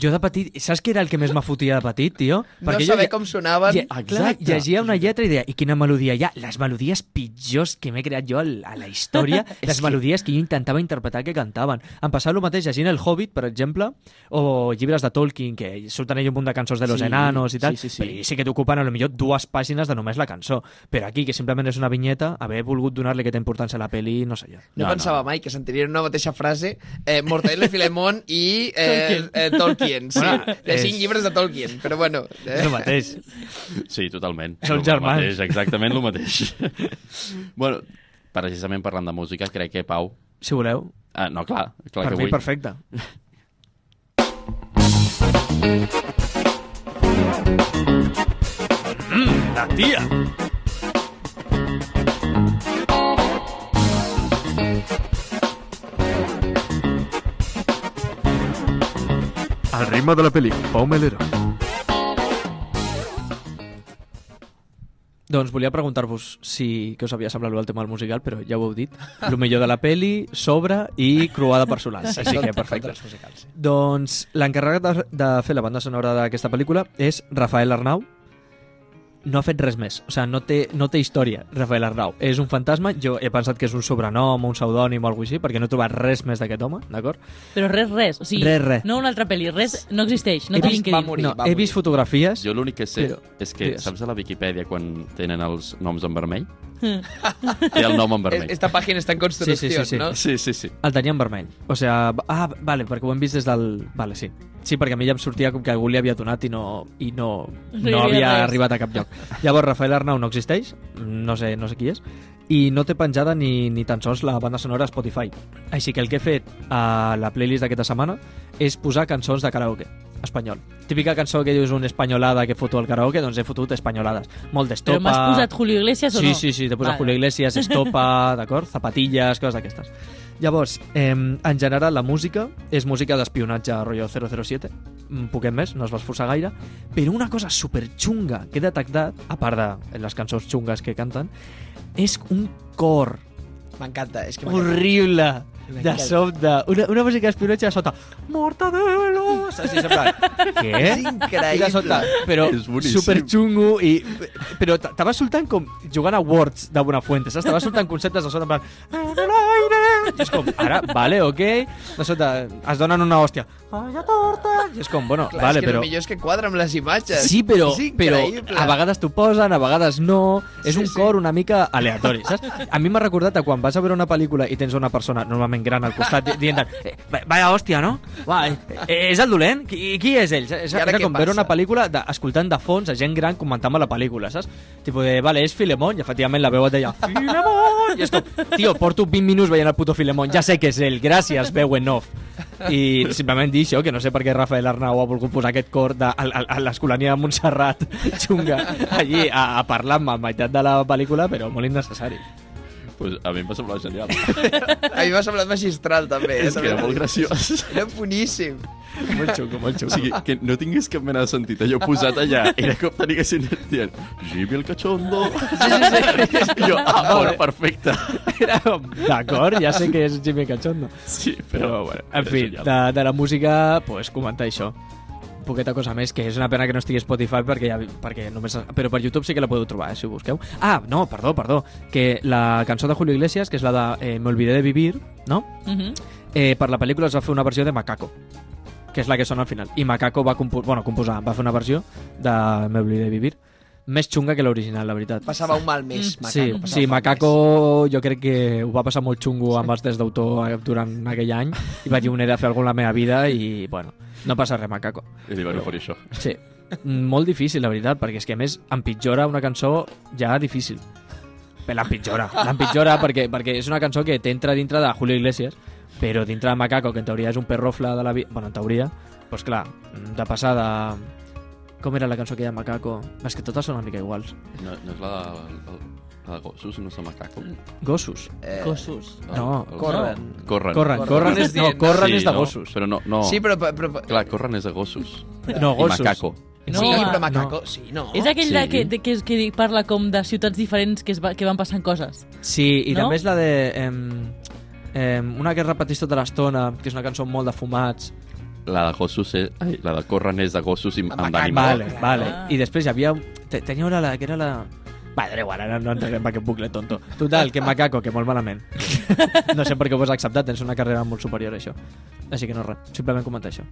C: Jo de petit, saps què era el que més m'ha fotia de petit, tio?
F: No
C: jo
F: saber
C: lle-
F: com sonaven...
C: lle-
A: Exacte.
C: clar, llegia una lletra i deia, i quina melodia hi ha? Les melodies pitjors que m'he creat jo al- a la història, les melodies que jo intentava interpretar que cantaven. Em passava el mateix llegint El Hobbit, per exemple, o llibres de Tolkien, que surten allà un munt de cançons de los
A: Sí,
C: enanos i tal,
A: sí, sí, sí.
C: i sí que t'ocupen a lo millor dues pàgines de només la cançó. Però aquí, que simplement és una vinyeta, haver volgut donar-li aquesta importància a la peli, no sé jo.
A: No,
F: No, no pensava
A: no.
F: no. mai que sentirien una mateixa frase eh, Mortadelo i Filemón i eh,
B: Tolkien.
F: eh, Tolkien. Sí,
C: Bueno,
F: llegint
C: és-
F: llibres de Tolkien, però bueno.
C: És
F: Eh?
C: el mateix.
A: Sí, totalment.
C: Són
A: El
C: germans.
A: Mateix, exactament el mateix. bueno, precisament parlant de música, crec que Pau...
C: Si voleu,
A: Ah, no, clar, clar
C: per
A: que
C: mi
A: vull.
C: perfecte. Mm, la tia!
D: Al ritmo de la peli, Pau Melero.
C: Doncs volia preguntar-vos si què us havia semblat el tema del musical, però ja ho heu dit. El millor de la peli, sobre i croada per Solange. Així que perfecte.
F: Són musicals.
C: Doncs l'encarregat de, de fer la banda sonora d'aquesta pel·lícula és Rafael Arnau. No ha fet res més, o sigui, no té, no té història, Rafael Arnau. És un fantasma, jo he pensat que és un sobrenom, un pseudònim o alguna així, perquè no he trobat res més d'aquest home, d'acord?
B: Però res, res. O sigui,
C: Res, res.
B: No una altra pel·li, res no existeix. No
C: He
B: té
C: vist-
F: va
B: LinkedIn.
F: morir.
C: no,
F: va
C: he vist fotografies...
A: Jo l'únic que sé
C: Però-
A: és que,
C: digues.
A: saps a la Viquipèdia quan tenen els noms en vermell? Hmm. Té el nom en
F: Es-
A: vermell.
F: Esta pàgina està en construcció,
C: Sí, sí, sí, sí.
F: no?
A: Sí, sí, sí.
C: El tenia en vermell. O sigui, ah, vale, perquè ho hem vist des del... Vale, sí. Sí, perquè a mi ja em sortia com que algú li havia donat i no, i no,
B: No
C: no,
B: hi havia
C: havia
B: res.
C: arribat a cap lloc. Llavors, Rafael Arnau no existeix, no sé, no sé qui és, i no té penjada ni, ni tan sols la banda sonora a Spotify. Així que el que he fet a la playlist d'aquesta setmana és posar cançons de karaoke espanyol. Típica cançó que dius un espanyolada que foto al karaoke, doncs he fotut espanyolades. Molt d'estopa...
B: Però m'has posat Julio Iglesias o
C: Sí,
B: no?
C: sí, sí, te posa
B: Vale.
C: Julio Iglesias, estopa, d'acord? Zapatilles, coses d'aquestes. Llavors, eh, en general, la música és música d'espionatge, rotllo 007, un poquet més, no es va esforçar gaire, però una cosa superxunga que he detectat, a part de les cançons xungues que canten, és un cor
F: M'encanta, és que m'encanta.
C: horrible de
F: M'encanta.
C: sobte. Una, una música d'espionatge de sota. Mortadelo! Saps? I sembla... Què?
F: És increïble.
C: I de Eh? sota, però
A: És boníssim.
C: superxungo i... Però t- te vas soltant com jugant a Words de Buenafuente, saps? Te vas soltant conceptes de sota, en plan... "En el aire". I és com, ara, vale, ok. De sota, es donen una hòstia. Ai, la torta! I és com, bueno,
F: Clar,
C: vale,
F: és que
C: però...
F: el millor és que quadra amb les imatges.
C: Sí, però,
F: és
C: però
F: increïble.
C: a vegades t'ho posen, a vegades no. És
F: Sí,
C: un
F: sí.
C: cor una mica aleatori, saps? A mi m'ha recordat a quan vas a veure una pel·lícula i tens una persona normalment gran al costat di- dient eh, va- vaya hòstia, no? Va, eh, eh, és el dolent? Qui, qui és ell? És,
F: I ara
C: era
F: què
C: com veure
F: passa?
C: una pel·lícula de, escoltant de fons a gent gran comentant la pel·lícula, saps? Tipo de, vale, és Filemón, i efectivament la veu et deia Filemón! I és com, tio, porto 20 minuts veient el puto Filemón, ja sé que és ell, gràcies, veu en off. I simplement dir això, que no sé per què Rafael Arnau ha volgut posar aquest cor de, a, a, a l'escolania de Montserrat xunga allí a, a parlar-me a meitat de la pel·lícula, però molt innecessari.
A: Pues a mi em va semblar genial.
F: A mi m'ha semblat magistral, també. Eh?
A: és que era molt graciós.
F: Era boníssim.
C: Molt xungo, molt
A: O
C: xungo.
A: sigui, que no tingués cap mena de sentit. Allò posat allà, era com teniguessin dient Jimmy el cachondo. Sí, sí, sí. Jo, ah, bueno, perfecte.
C: Era com, D'acord, ja sé que és Jimmy Cachondo.
A: Sí, però,
C: Però, bueno, en fi,
A: era
C: de,
A: genial.
C: de la música, pues, comentar això. Poqueta cosa més, que és una pena que no estigui a Spotify perquè, ja, perquè només... Però per YouTube sí que la podeu trobar, eh, si ho busqueu. Ah, no, perdó, perdó. Que la cançó de Julio Iglesias, que és la de eh, Me olvidé de vivir, no?
B: Mhm.
C: Eh, per la pel·lícula es va fer una versió de Macaco, que és la que sona al final. I Macaco va compo bueno, composar, va fer una versió de Me olvidé de vivir. Més xunga que l'original, la veritat.
F: Passava un mal mes, Macaco.
C: Mm. Sí,
F: passava
C: sí
F: un mal
C: Macaco jo crec que ho va passar molt xungo amb els drets d'autor eh, durant aquell any i va dir un he de fer alguna a la meva vida i, bueno, no passa res, Macaco.
A: I li van oferir això.
C: Sí, molt difícil, la veritat, perquè és que, a més, empitjora una cançó ja difícil. Bé, L'empitjora, l'empitjora perquè, perquè és una cançó que t'entra dintre de Julio Iglesias, però dintre de Macaco, que en teoria és un perrofla de la vida... Bueno, en teoria, doncs clar, de passar de... Com era la cançó aquella de Macaco? És que totes són una mica iguals.
A: No, no és la de, la de Gossos, no és de Macaco?
C: Gossos.
F: Eh,
B: Cossos.
C: No,
F: corren.
A: Corren.
C: Corren, corren és, no,
F: Corren.
C: corren
A: Sí,
C: és de
A: no,
C: gossos.
A: Però no, no.
F: Sí, però... però, però
A: Clar, corren és de gossos.
C: No, gossos.
A: I macaco.
F: no,
B: No,
F: sí,
B: ah,
F: però Macaco, sí, no.
B: És aquell
A: Sí.
B: de que, de, que, que parla com de ciutats diferents que, es va, que van passant coses.
C: Sí, i
B: No?
C: també és la de... Em... Eh, una que es repeteix tota l'estona, que és una cançó molt de fumats.
A: La de gossos és... Ai, la de corren és de gossos i amb
C: Vale,
A: d'animals.
C: vale. I després hi havia... te- Tenia una la- que era la... Va, però igual, ara no entrarem en aquest bucle tonto. Total, que macaco, que molt malament. No sé per què ho has acceptat, tens una carrera molt superior a això. Així que no res, simplement comentar això.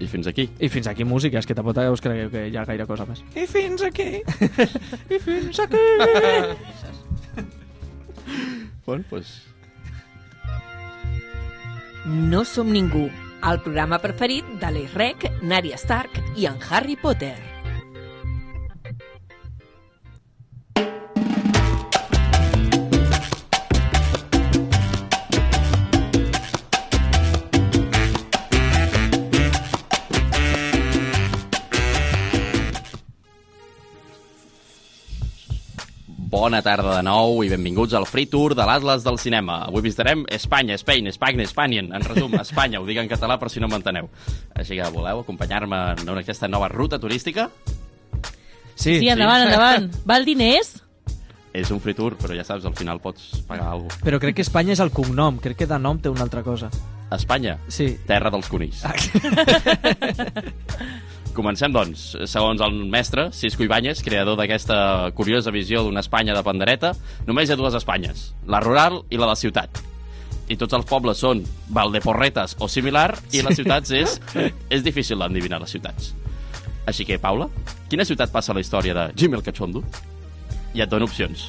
A: I fins aquí.
C: I fins aquí música, és que tampoc us cregueu que hi ha gaire cosa més.
F: I fins aquí.
C: I fins aquí!
A: Bueno, pues...
E: No som ningú, el programa preferit de l'Eix Rec, Nària Stark i en Harry Potter.
A: Bona tarda de nou i benvinguts al Free Tour de l'Atlas del Cinema. Avui visitarem Espanya, Spain, Espanya, Espanien. En resum, Espanya, ho dic en català per si no m'enteneu. Així que voleu acompanyar-me en aquesta nova ruta turística?
B: Sí, sí endavant, sí. endavant. Val diners?
A: És un free tour, però ja saps, al final pots pagar alguna cosa.
C: Però crec que Espanya és el cognom, crec que de nom té una altra cosa.
A: Espanya,
C: Sí.
A: terra dels conills.
C: Ah.
A: Comencem, doncs. Segons el mestre, Cisco Ibáñez, creador d'aquesta curiosa visió d'una Espanya de pandereta, només hi ha dues Espanyes, la rural i la de ciutat. I tots els pobles són Valdeporretes o similar, i les ciutats és... és difícil d'endevinar les ciutats. Així que, Paula, quina ciutat passa la història de Jim el Cachondo? I et dono opcions.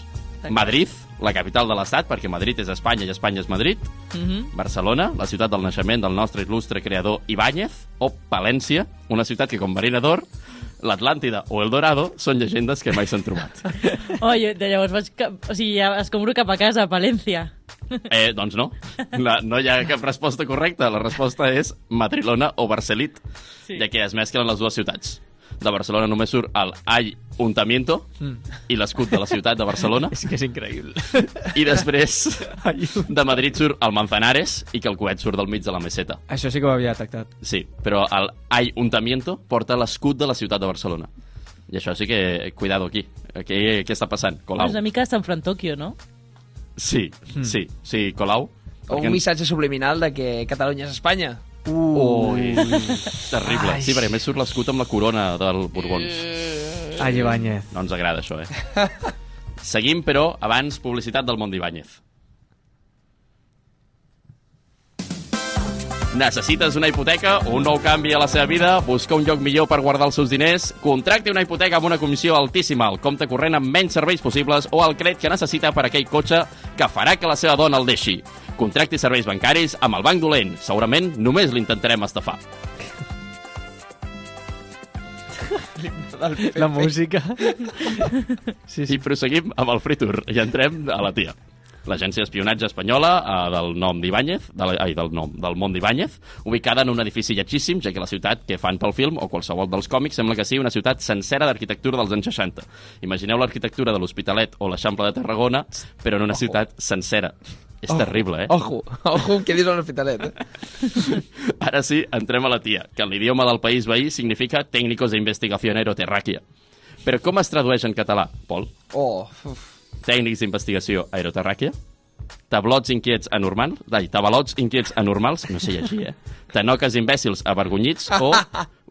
A: Madrid, la capital de l'Estat, perquè Madrid és Espanya i Espanya és Madrid.
B: Mm -hmm.
A: Barcelona, la ciutat del naixement del nostre il·lustre creador Ibáñez, o Palència, una ciutat que, com Marina d'Or, l'Atlàntida o el Dorado són llegendes que mai s'han trobat.
B: Oi, de llavors vaig cap, o sigui, ja escombro cap a casa, a Palència.
A: Eh, doncs no. La, no hi ha cap resposta correcta. La resposta és Matrilona o Barcelit,
B: Sí.
A: sí. ja que es mesclen les dues ciutats. De Barcelona només surt el Ayuntamiento i l'escut de la ciutat de Barcelona.
C: És que és increïble.
A: I després de Madrid surt el Manzanares i que el coet surt del mig de la meseta.
C: Això sí que ho havia detectat.
A: Sí, però el Ayuntamiento porta l'escut de la ciutat de Barcelona. I això sí que... Cuidado aquí. Què, què està passant? Colau.
B: És una mica Sant Frantòquio, no?
A: Sí, sí, sí, Colau.
F: O un missatge subliminal de que Catalunya és Espanya.
A: Ui, terrible. Sí, perquè a més surt l'escut amb la corona del Borbons.
F: Eh,
C: A Ibáñez.
A: No ens agrada això, eh? Seguim, però, abans, publicitat del món d'Ibáñez. Necessites una hipoteca, un nou canvi a la seva vida, buscar un lloc millor per guardar els seus diners, contracti una hipoteca amb una comissió altíssima, el compte corrent amb menys serveis possibles o el crèdit que necessita per aquell cotxe que farà que la seva dona el deixi. Contracti serveis bancaris amb el banc dolent. Segurament només l'intentarem estafar.
C: La música. Sí,
A: I
C: sí.
A: proseguim amb el Free Tour i entrem a la TIA. L'agència d'espionatge espanyola eh, del nom d'Ibáñez, de la- ai, del nom, del món d'Ibáñez, ubicada en un edifici lletgíssim, ja que la ciutat que fan pel film o qualsevol dels còmics sembla que sigui una ciutat sencera d'arquitectura dels anys 60. Imagineu l'arquitectura de l'Hospitalet o l'Eixample de Tarragona, però en una ciutat sencera. És terrible, eh?
F: Ojo, ojo, què dius a l'hospitalet. Eh?
A: Ara sí, entrem a la tia, que en l'idioma del país veí significa Técnicos de Investigación Aeroterràquia. Però com es tradueix en català, Pol?
F: Oh, uf.
A: tècnics d'investigació aeroterràquia, tablots inquiets anormals, ai, tabalots inquiets anormals, no sé llegir, eh? Tanoques imbècils avergonyits o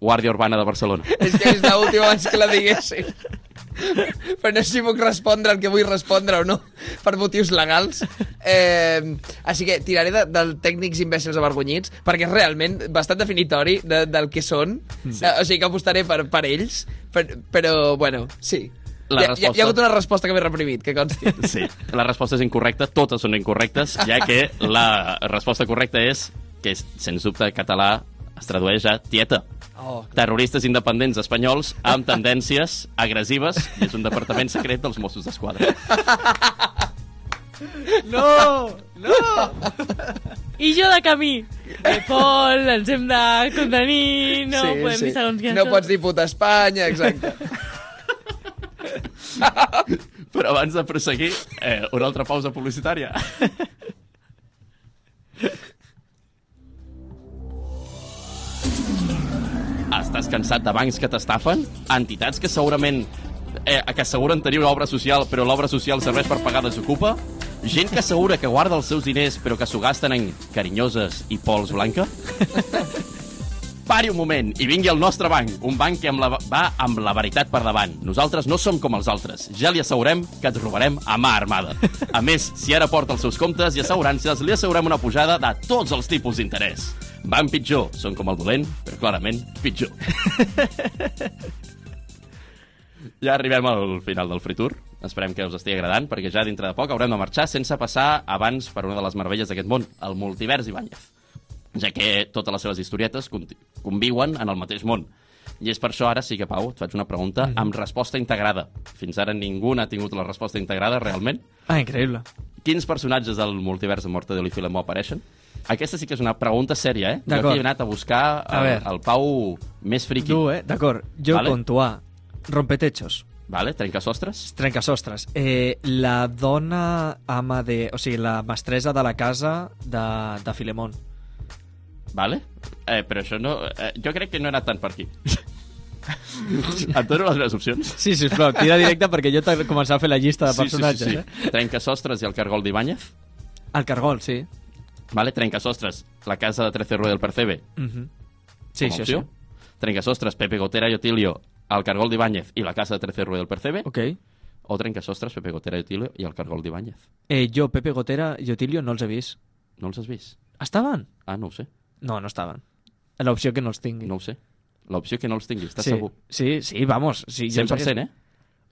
A: Guàrdia Urbana de Barcelona.
F: és que és l'última abans que la diguessin. Però no sé si puc respondre el que vull respondre o no, per motius legals. Eh, així que tiraré de, del tècnics imbècils avergonyits, perquè és realment bastant definitori de, del que són. Sí. Eh, o sigui que apostaré per, per ells, per, però, bueno, sí.
A: La
F: hi, ha, hi, ha,
A: resposta.
F: hi ha hagut una resposta que m'he reprimit, que consti.
A: Sí, la resposta és incorrecta, totes són incorrectes, ja que la resposta correcta és que, és, sens dubte, català es tradueix a tieta.
F: Oh,
A: Terroristes independents espanyols amb tendències agressives i és un departament secret dels Mossos d'Esquadra.
C: No!
B: I jo de camí. Eh, Pol, ens hem de contenir, no sí, podem sí. dir segons què.
F: No pots dir puta Espanya, exacte.
A: Però abans de proseguir, eh, una altra pausa publicitària. Estàs cansat de bancs que t'estafen? Entitats que segurament eh, que asseguren tenir una obra social, però l'obra social serveix per pagar desocupa? Gent que assegura que guarda els seus diners però que s'ho gasten en carinyoses i pols blanca? Pari un moment i vingui al nostre banc, un banc que amb la, va amb la veritat per davant. Nosaltres no som com els altres. Ja li assegurem que ens robarem a mà armada. A més, si ara porta els seus comptes i assegurances, li assegurem una pujada de tots els tipus d'interès. Van pitjor, són com el dolent, però clarament pitjor. Ja arribem al final del Free Tour. Esperem que us estigui agradant, perquè ja dintre de poc haurem de marxar sense passar abans per una de les meravelles d'aquest món, el multivers Ibáñez, ja que totes les seves historietes conti- conviuen en el mateix món. I és per això ara sí que, Pau, et faig una pregunta
C: Mm.
A: amb resposta integrada. Fins ara ningú n'ha tingut la resposta integrada, realment.
C: Ah, increïble.
A: Quins personatges del multivers de Mortadelo i Filemó apareixen? Aquesta sí que és una pregunta sèria, eh? Jo
C: D'acord.
A: aquí he anat a buscar
C: A
A: el,
C: veure.
A: el Pau més friqui.
C: Tu, eh? D'acord.
A: Vale.
C: Jo vale. conto A. Rompetechos.
A: Vale, trencasostres.
C: Trencasostres. Eh, la dona ama de... O sigui, la mestresa de la casa de, de Filemón.
A: Vale? Eh, però això no... Eh, jo crec que no era tant per aquí. Et dono les meves opcions?
C: Sí, sisplau, tira directe perquè jo t'he començat a fer la llista de
A: Sí, sí, sí,
C: personatges.
A: sí.
C: Eh?
A: Trencasostres i el cargol d'Ibáñez.
C: El cargol, sí.
A: Vale? Trencasostres, la casa de Trece Rue del Percebe.
C: Mm -hmm. Sí,
A: com a
C: sí, sí.
A: opció. Trencasostres, Pepe Gotera i Otilio, el cargol d'Ibáñez i la casa de Trece Rue del Percebe.
C: Ok.
A: O trencasostres, Pepe Gotera i Otilio i el cargol d'Ibáñez.
C: Eh, jo, Pepe Gotera i Otilio no els he vist.
A: No els has vist?
C: Estaven?
A: Ah, no ho sé.
C: No, no estaven. L'opció que no els tingui.
A: No ho sé. L'opció que no els tinguis, estàs
C: sí,
A: segur?
C: Sí, sí, vamos. Sí, jo em
A: 100%, eh?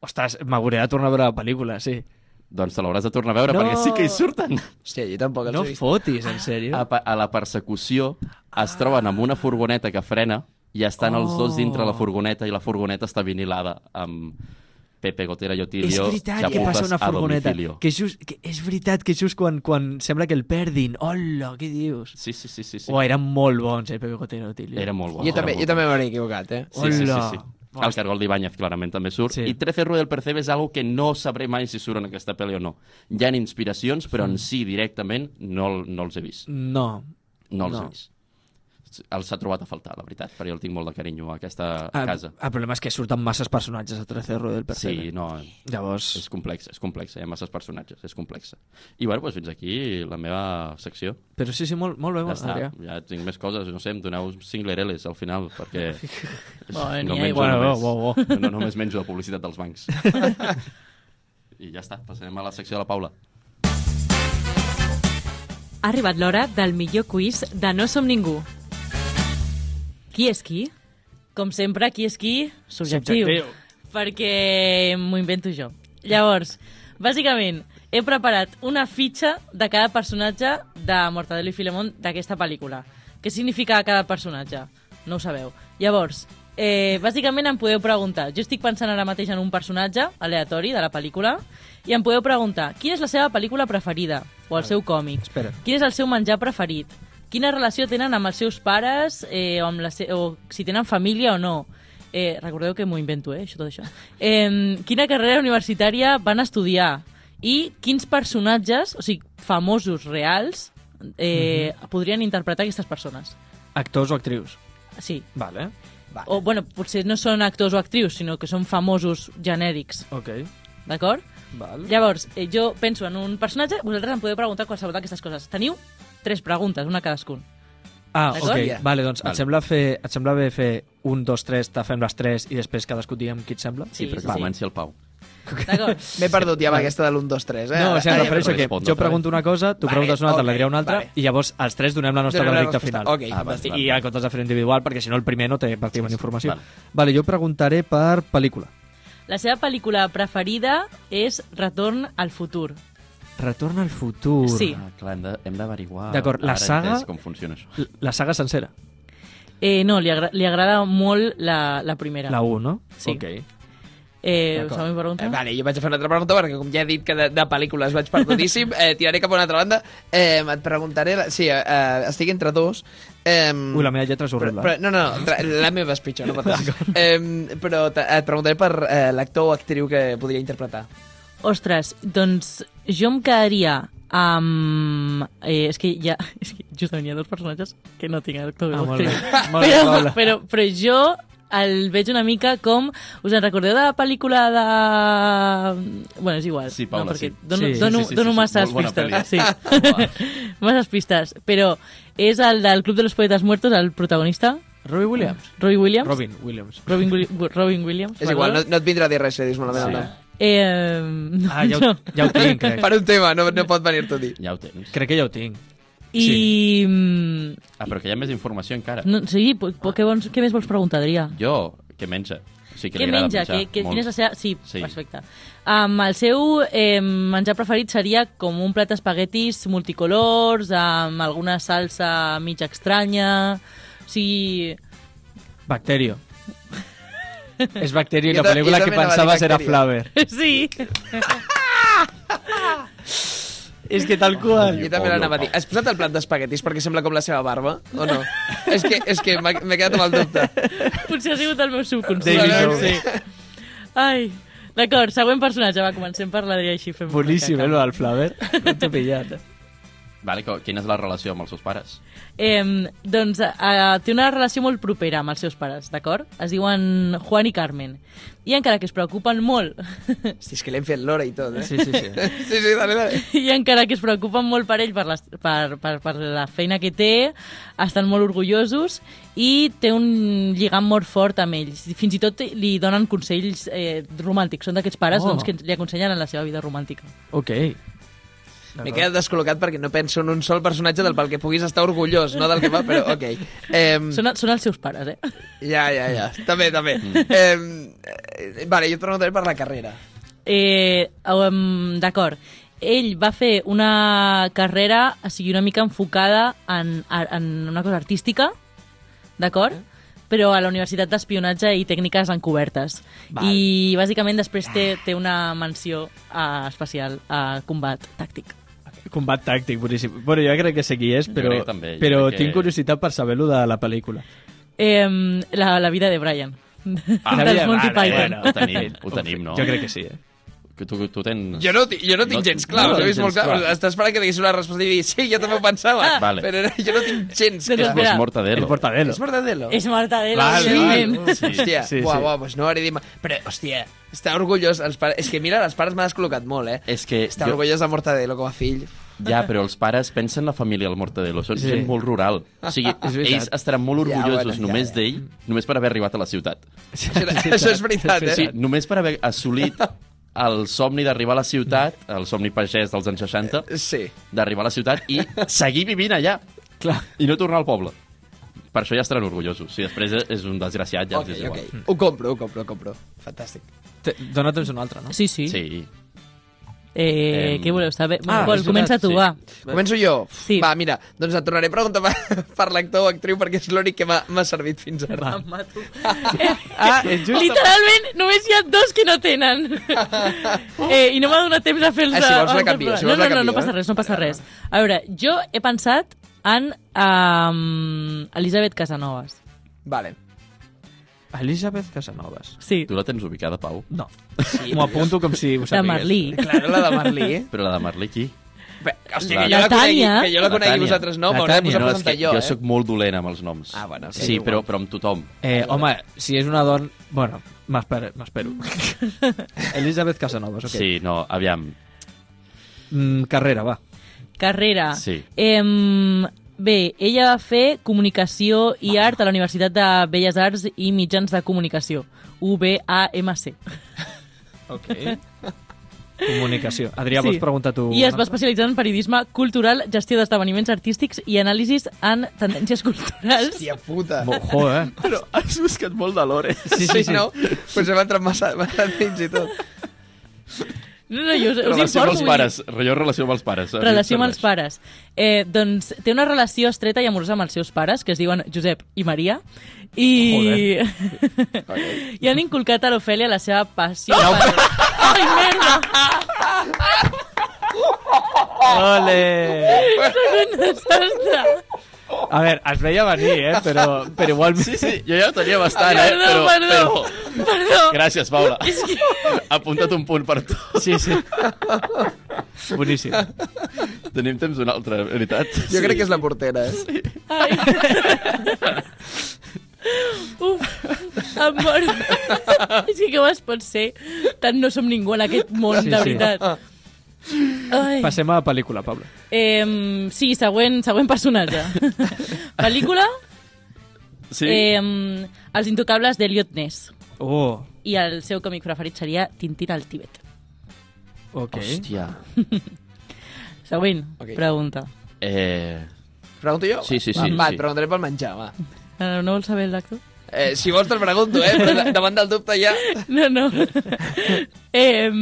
C: Ostres, m'hauré de tornar a veure la pel·lícula, sí.
A: Doncs te l'hauràs de tornar a veure,
C: No.
A: perquè sí que hi surten.
F: Hòstia, jo tampoc els
C: No
F: he vist. Ah,
C: fotis, en sèrio.
A: a, pa- a la persecució es troben amb una furgoneta que frena i estan oh. els dos dintre la furgoneta i la furgoneta està vinilada amb Pepe Gotera i
C: és
A: Otilio
C: veritat que passa una furgoneta. Que just, que és veritat que just quan, quan sembla que el perdin. Hola, què dius?
A: Sí, sí, sí, sí, sí.
C: Sí. Uah, eren molt bons, eh, Pepe Gotero, Otilio.
A: Era molt bo.
F: Jo
A: era
F: també, jo
A: molt
F: també m'hauré equivocat, eh?
A: bo. Sí, sí, sí,
C: Hola.
A: sí. El cargol d'Ibáñez clarament també surt.
C: Sí.
A: Sí. I 13 Rue del Percebe és algo que no sabré mai si surt en aquesta pel·li o no. Hi ha inspiracions, però
C: Mm.
A: en si directament no, el- no els he vist.
C: No.
A: No els
C: No.
A: he vist. Els ha trobat a faltar, la veritat, perquè jo el tinc molt de carinyo a aquesta
C: El,
A: casa.
C: el problema és que surten masses personatges a 13 Rue del Percebe.
A: Sí, no,
C: Llavors...
A: És complex, és complex, hi ha masses personatges, és complex. I bueno, doncs fins aquí la meva secció.
C: Però sí, sí, molt, molt bé,
A: Ja
C: molt
A: està,
C: Adrià.
A: ja tinc més coses, no sé, em doneu 5 lereles al final, perquè
B: Bon
A: no
B: dia,
A: menjo
B: igual.
A: només,
C: Bueno, bo, bo,
A: No, no, només menjo la publicitat dels bancs. I ja està, passarem a la secció de la Paula.
B: Ha arribat l'hora del millor quiz de No som ningú. Qui és qui? Com sempre, qui és qui? Subjectiu.
C: Subjectiu.
B: Perquè m'ho invento jo. Llavors, bàsicament, he preparat una fitxa de cada personatge de Mortadelo i Filemón d'aquesta pel·lícula. Què significa cada personatge? No ho sabeu. Llavors, eh, bàsicament em podeu preguntar, jo estic pensant ara mateix en un personatge aleatori de la pel·lícula, i em podeu preguntar quina és la seva pel·lícula preferida, o el seu còmic,
C: Espera.
B: Quin és el seu menjar preferit? Quina relació tenen amb els seus pares eh, o, amb la se o si tenen família o no? Eh, recordeu que m'ho invento, eh, això, tot això. Eh, quina carrera universitària van estudiar? I quins personatges, o sigui, famosos reals, eh, podrien interpretar aquestes persones?
C: Actors o actrius?
B: Sí.
C: Vale. Va.
B: O, bueno, potser no són actors o actrius, sinó que són famosos genèrics,
C: Ok,
B: d'acord?
C: val.
B: Llavors, eh, jo penso en un personatge, vosaltres em podeu preguntar qualsevol d'aquestes coses. Teniu tres preguntes, una cadascun.
C: Ah,
B: D'acord?
C: ok.
F: Ja.
C: Vale, doncs
A: Vale.
C: et sembla, fer, et sembla bé fer un, dos, tres, te fem les tres i després cadascú diem qui et sembla?
B: Sí,
A: Però
B: sí,
A: que
B: sí.
A: comenci el Pau.
B: D'acord.
F: M'he perdut ja amb aquesta de l'1, 2, 3, eh?
C: No, o sigui, em
F: Ara ja
C: refereixo
A: però
C: que
A: respon
C: jo
A: d'altra
C: pregunto una cosa, tu
F: Vale,
C: preguntes una altra,
F: ok,
C: la diré una altra,
F: vale.
C: i llavors els tres donem la nostra
F: Donem la
C: veredicte
F: resposta.
C: final.
F: Ok,
A: Ah, vale,
F: fantàstic.
C: I
A: vale.
C: en comptes de fer individual, perquè si no el primer no té pràcticament informació.
A: Vale.
C: Vale. vale, jo preguntaré per pel·lícula.
B: La seva pel·lícula preferida és Retorn al futur.
C: Retorn al futur.
B: Sí.
A: Ah, clar, hem de- hem d'averiguar...
C: D'acord, la
A: Ara he
C: saga-
A: entès Com funciona això.
C: L- La saga sencera.
B: Eh, no, li, agra li agrada molt la, la primera.
C: La 1, no?
B: Sí.
C: Ok.
B: Eh, us
F: D'acord.
B: fa una
F: Eh,
B: pregunta?
F: vale, jo vaig a fer una altra pregunta perquè com ja he dit que de, de pel·lícules vaig perdudíssim, eh, tiraré cap a una altra banda. Eh, et preguntaré... La... Sí, eh, eh, estic entre dos. Eh,
C: Ui, la meva lletra és
F: però,
C: horrible. eh?
F: però, no, no, no, tra- la meva és pitjor, no pateixis. Eh, però te- et preguntaré per eh, l'actor o actriu que podria interpretar.
B: Ostres, doncs jo em quedaria amb... Eh, és que hi ha... És que justament hi ha dos personatges que no tinc actor.
C: Ah, molt
B: actriu.
C: bé. Molt bé,
B: Però,
C: Paula.
B: però, però jo el veig una mica com... Us en recordeu de la pel·lícula de... Bueno, és igual.
A: Sí, Paula,
B: no, perquè
A: sí.
B: Dono,
C: Sí,
B: dono,
A: sí, sí,
B: dono
A: sí, sí.
B: masses
A: Molt bona
B: pistes. Sí. masses pistes. Però és el del Club de los Poetas Muertos, el protagonista,
C: Robbie Williams?
B: Robbie Williams.
C: Robin Williams.
B: Robin, Willi- Robin Williams.
F: És igual, no,
B: perdó.
F: no et vindrà a dir res si dius malament el
A: Sí.
F: nom.
B: Eh, no,
C: Ah, ja ho,
B: no.
C: ja ho tinc, crec.
F: Per un tema, no, no pot venir-t'ho a dir.
A: Ja ho tens.
C: Crec que ja ho tinc.
B: I... mm,
A: Ah, però que hi ha més informació encara.
B: No, sí, po- po- què, vols, què més vols preguntar, Adrià?
A: Jo, què menja? O sigui, que
B: Què
A: li agrada
B: menja?
A: menjar
B: Que, que,
A: molt.
B: quina és la seva... Sí,
A: Sí.
B: sí. perfecte. Um, el seu eh, menjar preferit seria com un plat d'espaguetis multicolors, amb alguna salsa mig estranya... O sigui...
C: Bacterio. És Bacterio i
F: Jo
C: la
F: ta-
C: pel·lícula
F: jo
C: que
F: també anava a
C: pensabas
F: dir
C: era
F: Bacterio.
C: Flaver.
B: Sí.
C: És que tal qual.
F: Jo també l'anava a dir. Has posat el plat d'espaguetis perquè sembla com la seva barba, o no? és que, és que m'ha- m'he quedat amb el dubte.
B: Potser ha sigut el meu subconscient.
C: David Jones.
B: Sí. Ai, D'acord, següent personatge. Va, comencem per l'Adrià i així fem... una
C: Boníssim,
B: caca.
C: eh, lo del Flaver. No t'ho he pillat.
A: Vale, co- quina és la relació amb els seus pares?
B: Eh, doncs eh, té una relació molt propera amb els seus pares, d'acord? Es diuen Juan i Carmen. I encara que es preocupen molt
F: Hosti, és que l'hem fet l'hora i tot, eh?
C: Sí, sí, sí.
F: sí, sí dale, dale.
B: i encara que es preocupen molt per ell, per, les, per, per, per la feina que té, estan molt orgullosos i té un lligam molt fort amb ells. Fins i tot li donen consells eh, romàntics. Són d'aquests pares
C: Oh.
B: doncs, que li aconsellen en la seva vida romàntica.
C: Ok.
F: M'he quedat descol·locat perquè no penso en un sol personatge del pel que puguis estar orgullós, no del que va, però ok. Em,
B: Són, són els seus pares, eh?
F: Ja, ja, ja. També, també. Em, Eh, vale, jo et preguntaré per la carrera.
B: Eh, um, D'acord. Ell va fer una carrera, o sigui, una mica enfocada en, en una cosa artística, d'acord? Però a la Universitat d'Espionatge i Tècniques Encobertes.
C: Val.
B: I, bàsicament, després té, té una menció uh, especial a combat tàctic.
C: Combat tàctic, boníssim. Bueno, jo crec que sé qui és, però,
A: crec que també, jo
C: però
A: crec que-
C: tinc curiositat per saber-lo de la pel·lícula.
B: Eh, la, la vida de Brian.
A: Ah,
B: dels
C: Sabia,
B: Monty
C: vale,
B: Python.
A: bueno. Ho tenim, ho tenim, no?
C: Jo crec que sí, eh?
A: Que tu, tu tens...
F: Jo no, ti- jo no tinc
A: No-
F: gens clar,
A: no
F: no,
A: tens
F: he vist molt
A: gens
F: clar.
A: clar.
F: Estàs esperant que diguis una resposta i diguis, sí, jo també ho pensava,
A: Vale.
F: però no, jo no tinc
A: És
B: Ah. Doncs
F: gens clar.
B: espera.
A: vos mortadelo.
C: El portadelo.
F: És verdadero.
B: És Mortadelo,
C: Vale,
B: evidentment.
C: vale.
A: Sí.
F: Hòstia,
C: Sí, sí.
F: sí, sí. uau, pues no hauré dit... mai. Però, hòstia, està orgullós. Els pares... És que mira, els pares m'han descol·locat molt, eh?
A: És que
F: Està
A: jo-
F: orgullós de Mortadelo com a fill.
A: Ja, però els pares pensen en la família del Mortadelo. Són sí.
C: Sí.
A: gent molt rural. O sigui,
C: És veritat.
A: ells estaran molt
F: Ja,
A: orgullosos
F: bueno, ja,
A: només
F: ja.
A: d'ell, només per haver arribat a la ciutat.
F: Això, això és
A: O
F: veritat, eh?
A: sigui, només per haver assolit el somni d'arribar a la ciutat, el somni pagès dels anys 60,
F: eh. Sí.
A: d'arribar a la ciutat i seguir vivint allà
C: Clar.
A: i no tornar al poble. Per això ja estaran orgullosos. Si després és un desgraciat, ja
F: Ok,
A: els és igual. Mm.
F: ok. Ho compro, ho compro, ho compro. Fantàstic.
C: Te- Dóna temps un altre, no?
B: Sí, sí.
A: Sí. Em-
B: Eh, què voleu saber?
C: Ah,
B: Ah, Pol,
C: és
B: comença
C: veritat,
B: tu,
C: sí.
B: va.
F: Començo jo?
B: Sí.
F: Va, mira, doncs et tornaré a preguntar per, per l'actor o actriu perquè és l'únic que m'ha m'ha servit fins ara.
B: Em mato.
C: Ah, és just...
B: Literalment, només hi ha dos que no tenen. eh, I no m'ha donat temps a fer els...
F: Ah, si vols la
B: els-
F: canvio, si vols
B: no,
F: la
B: no, no,
F: canvio,
B: no passa
F: eh?
B: res, no passa res. A veure, jo he pensat en um, Elisabet Casanovas.
F: Vale.
C: Elisabeth Casanovas.
B: Sí,
A: Tu la tens ubicada, Pau?
C: No.
F: Sí,
C: M'ho apunto com si ho
B: de
C: sapigués.
B: Merlí.
F: Claro, la de Marlí, eh?
A: Però la de Marlí, qui?
F: Bé, Hòstia, que
A: La
F: jo la, conegui,
B: Tània.
F: que jo la
A: La
F: conegui
A: Tània.
F: vosaltres no,
C: La
F: m'hauré de
C: Tània.
F: posar a
A: no, és
F: presentar
A: que
F: jo,
A: jo
F: eh?
A: sóc molt dolent amb els noms.
F: Ah, bueno, sí,
A: sí
F: igual.
A: però, però amb tothom.
C: Eh, home, si és una dona... Bueno, m'espero. m'espero. Elisabeth Casanovas, ok.
A: Okay. Sí, no, aviam.
C: Mm, carrera, va.
B: Carrera.
A: Sí.
B: Em, bé, ella va fer Comunicació i Art a la Universitat de Belles Arts i Mitjans de Comunicació. UBAMC.
C: Ok. Comunicació. Adrià,
B: Sí.
C: vols preguntar tu?
B: I es va
C: una altra?
B: especialitzar en periodisme cultural, gestió d'esdeveniments artístics i anàlisis en tendències culturals.
F: Hòstia puta.
C: Ojo, eh?
A: Però has buscat molt eh? de l'hora.
F: Sí, sí, sí. No? Potser m'ha entrat massa, massa dins i tot.
B: No, no, jo us, us
A: Relació amb
B: informo.
A: els
B: vull
A: pares. Jo relació amb els pares.
B: dir, Relació amb els pares. Eh, doncs té una relació estreta i amorosa amb els seus pares, que es diuen Josep i Maria, i... I han inculcat a l'Ofèlia la seva passió. per... Ai, merda!
C: Ole!
B: Sóc un desastre!
C: A veure, es veia venir, eh? Però, però igualment...
A: Sí, sí, jo ja ho tenia bastant, eh?
B: Perdó,
A: Però,
B: perdó.
A: Però...
B: Perdó!
A: Gràcies, Paula.
B: És que...
A: Apunta't un punt per tu.
C: Sí, sí. Boníssim.
A: Tenim temps d'una altra, veritat.
F: Jo crec que és la portera, eh?
B: Ai. Uf, em moro. És que com es pot ser? Tant no som ningú en aquest món,
C: Sí,
B: sí, de
C: sí.
B: veritat. Ai.
C: Passem a la pel·lícula, Pablo.
B: Eh, sí, següent, següent personatge. Pel·lícula,
A: Sí.
B: eh, Els intocables d'Eliot Ness.
C: Oh,
B: I el seu còmic preferit seria Tintín al Tíbet.
C: ok.
A: Hòstia.
B: Següent
F: Ok.
B: pregunta.
A: Eh...
F: Pregunto jo?
A: Sí, sí,
F: Va,
A: sí,
F: Va,
A: sí.
F: et preguntaré pel menjar, va.
B: No, no vols saber l'actor?
F: Eh, si vols te'l pregunto, eh? Però de- davant del dubte ja...
B: No, no. eh,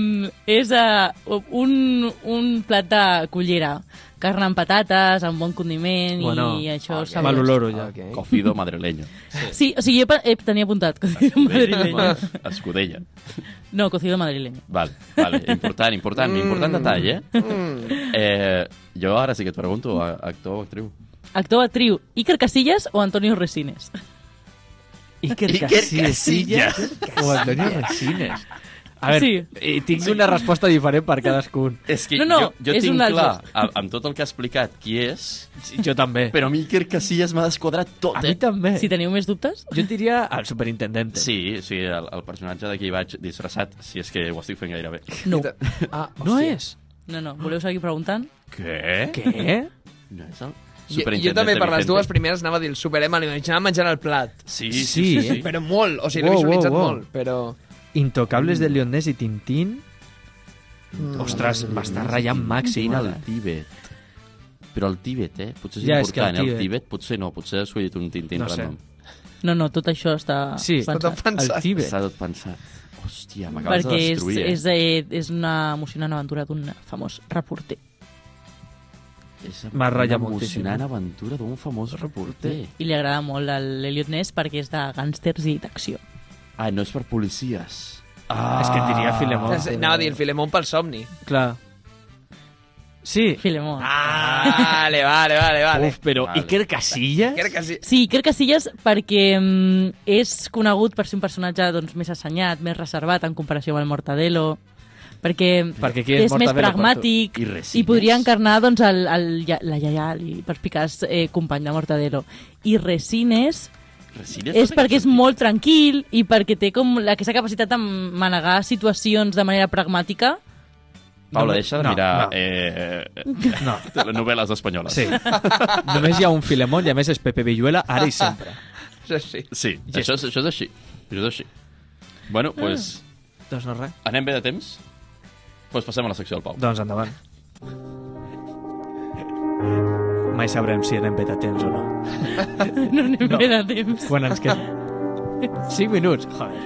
B: és uh, un, un plat de cullera. Carn amb patates, amb bon condiment
C: Bueno,
B: i això...
F: ok.
B: Okay.
C: Mal oloro, ja.
F: Ah, Ok.
A: Cocido madrileño.
B: Sí, o sigui, he, pe- he tenia apuntat. Cocido madrileño.
A: Escudella.
B: No, cocido madrileño.
A: Vale, vale. Important, important. Important detall, eh?
B: Mm.
A: eh? Jo ara sí que et pregunto, a- actor o actriu?
B: Actor, actriu, Iker Casillas o Antonio Resines?
C: Iker O Antonio Resines. A veure,
B: Sí.
C: sí. tinc una resposta diferent per cadascun.
A: És que
B: No, no,
A: jo, jo
B: és un
A: tinc
B: dels
A: clar,
B: dos.
A: a, amb tot el que ha explicat, qui és,
C: Jo també.
A: però a mi Iker Casillas m'ha desquadrat tot,
C: A
A: eh?
C: mi també.
B: Si teniu més dubtes?
C: Jo diria el superintendente.
A: Sí, sí, el, el personatge de qui vaig disfressat, si és que ho estic fent gairebé.
B: No.
F: Ah,
C: No
F: hòstia.
C: és?
B: No, no, voleu seguir preguntant?
A: Què?
C: Què?
A: No és el
F: Jo, jo també per
A: Vicente?
F: les dues primeres anava a dir el superem, l'imaginava menjant el plat.
A: Sí, sí, sí.
C: Sí,
A: sí,
C: eh?
A: sí.
F: Però molt, o sigui, l'he
C: Wow, wow,
F: visualitzat
C: wow.
F: molt, però...
C: Intocables de Leonés i Tintín. Ostres, m'està ratllant Maxi.
A: Tintín al
C: mare.
A: Tíbet. Però el Tíbet, eh? Potser és
C: Ja,
A: ja,
C: és que
A: important,
C: el
A: eh? El
C: Tíbet.
A: Tíbet potser no, potser ha escollit un Tintín
C: No sé.
A: random.
B: No, no, tot això està
C: Sí,
F: Tot
B: pensat.
F: pensat.
C: El Tíbet.
A: S'ha tot pensat. Hòstia, m'acabes de
B: Perquè és,
A: destruir,
B: és, eh, és una emocionant aventura d'un famós reporter.
A: eh? És
C: M'ha ratllat
A: una
C: moltíssim.
A: emocionant aventura d'un famós reporter.
B: I li agrada molt a l'Eliot Ness perquè és de gàngsters i d'acció.
A: Ah, no és per policies.
C: Ah, és que et diria Filemón.
F: Ah, anava a dir el Filemón pel somni.
C: Clar. Sí.
B: Filemón.
F: Ah, vale, vale, vale, vale.
C: Uf, però
A: Vale.
C: Iker Casillas?
F: Crec que sí.
B: Sí, Iker Casillas perquè mm, és conegut per ser un personatge doncs, més assenyat, més reservat en comparació amb el Mortadelo, perquè,
C: Perquè qui és
B: és més
C: Mortadelo per tu?
B: pragmàtic
A: I
B: i,
A: Resines?
B: podria encarnar doncs, el, el, ja- la Yayal i perspicaç eh, company de Mortadelo. I Resines
A: Resines,
B: és
A: no té
B: perquè és
A: sentit.
B: molt tranquil i perquè té com la- aquesta capacitat de manegar situacions de manera pragmàtica
A: Paula, deixa de
C: No,
A: mirar
C: no.
A: eh,
C: No.
A: telenovel·les espanyoles.
C: Sí. Només hi ha un Filemón i a més és Pepe Villuela ara i sempre.
F: Sí, sí.
A: Sí,
C: Ja
A: això, és, això és així. Això és així. Bueno, doncs pues,
C: Doncs no res.
A: anem bé de temps? Doncs pues passem a la secció del Pau.
C: Doncs endavant. Mai sabrem si anem bé de temps o no.
B: no anem
C: No.
B: no. bé de temps.
C: Quan ens queden... 5 minuts, joder.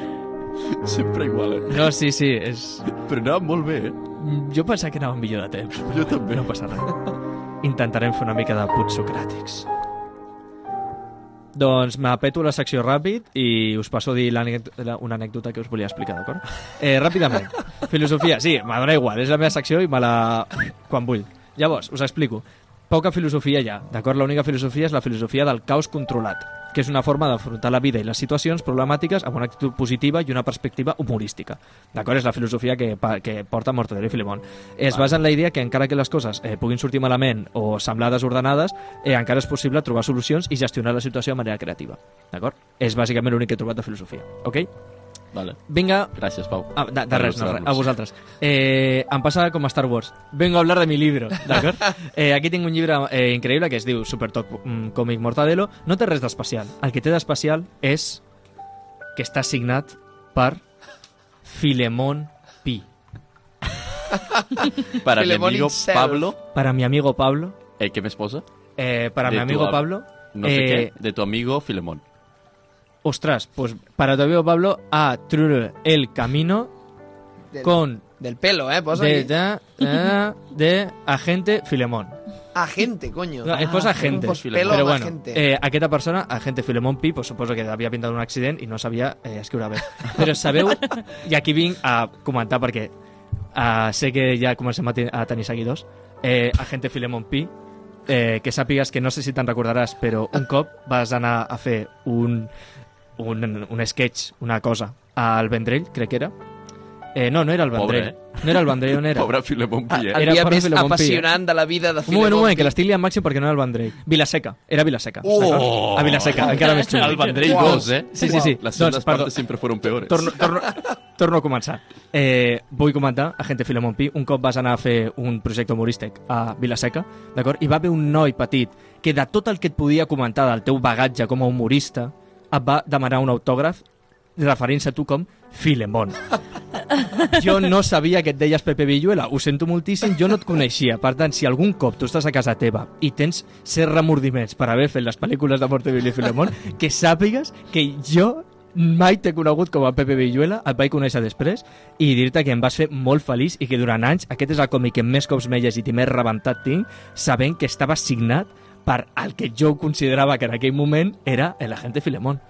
A: Sempre igual, eh?
C: No, sí, sí, és...
A: Però anava molt bé, eh?
C: Mm, Jo pensava que anàvem millor de temps.
A: Jo també.
C: No passa res. Intentarem fer una mica de puts socràtics. Doncs m'apeto la secció ràpid i us passo a dir l'anec- la- una anècdota que us volia explicar, d'acord? Eh, ràpidament. Filosofia, sí, m'adona igual, és la meva secció i me la... quan vull. Llavors, us explico. Poca filosofia hi ha, d'acord? L'única filosofia és la filosofia del caos controlat, que és una forma d'afrontar la vida i les situacions problemàtiques amb una actitud positiva i una perspectiva humorística. D'acord? És la filosofia que, pa- que porta Mortadelo i Filemón. Es basa en la idea que encara que les coses eh, puguin sortir malament o semblar desordenades, eh, encara és possible trobar solucions i gestionar la situació de manera creativa. D'acord? És bàsicament l'únic que he trobat de filosofia. Ok?
A: Vale.
C: Vinga,
A: Gràcies, Pau.
C: Ah, de, de
A: Per
C: res, no, res,
A: il·lustrar-nos.
C: a vosaltres. Eh, em passa com a Star Wars. Vengo a hablar de mi libro, d'acord? Eh, aquí tinc un llibre eh, increïble que es diu Super Top mm, Comic Mortadelo. No té res d'especial. El que té d'especial és que està signat per Filemón Pi.
A: Para mi
F: Filemón
A: amigo
F: himself.
A: Pablo,
C: Para mi amigo Pablo.
A: eh, què més posa?
C: Eh, para
A: De
C: mi
A: tu
C: amigo
A: ab-
C: Pablo.
A: No sé
C: eh,
A: què. De tu amigo Filemón.
C: Ostras, pues para tu amigo Pablo a True el camino
F: Del,
C: con
F: del pelo, eh? Posa
C: de,
F: aquí.
C: de, de, de agente Filemón.
F: Ah, Agente, coño.
C: No, es posa gente.
F: Pues
A: Filemón.
F: pelo
C: Però
F: amb
C: bueno,
F: agente.
C: eh, aquesta persona, agente Filemón Pi, pues, suposo que havia pintat un accident i no sabia eh, escriure bé. Però sabeu, i aquí vinc a comentar perquè eh, sé que ja comencem a, ten a tenir seguidors, eh, agente Filemón Pi, eh, que sàpigues que no sé si te'n recordaràs, però un cop vas anar a fer un, un, un sketch, una cosa, al Vendrell, crec que era, Eh, no, no era el
A: Pobre, eh?
C: Vendrell. No era el Vendrell, on era?
A: Pobre Filemon
F: El,
A: Pillet.
C: Era
F: el dia
C: per
F: més
C: Filemón Pi, eh?
F: apassionant de la vida de
C: Un moment, un
F: Filemón
C: moment, que l'estic liant màxim perquè no era el Vendrell. Vilaseca, era Vilaseca.
A: Oh!
C: A Vilaseca, encara més xulo.
A: El Vendrell
F: Uau.
A: 2, eh?
C: Sí, sí, sí.
A: Las
C: Doncs,
A: segundas
C: perdó.
A: partes siempre fueron peores.
C: Torno, torno, torno a començar. Eh, vull comentar a Gente Filemon Pi. Un cop vas anar a fer un projecte humorístic a Vilaseca, d'acord? I va haver un noi petit que de tot el que et podia comentar del teu bagatge com a humorista et va demanar un autògraf referint-se a tu com Filemon. Jo no sabia que et deies Pepe Villuela, ho sento moltíssim, jo no et coneixia. Per tant, si algun cop tu estàs a casa teva i tens certs remordiments per haver fet les pel·lícules de Mortevil i Filemón, que sàpigues que jo mai t'he conegut com a Pepe Villuela, et vaig conèixer després i dir-te que em vas fer molt feliç i que durant anys aquest és el còmic que més cops m'he llegit i més rebentat tinc, sabent que estava signat per el que jo considerava que en aquell moment era el agente Filemón.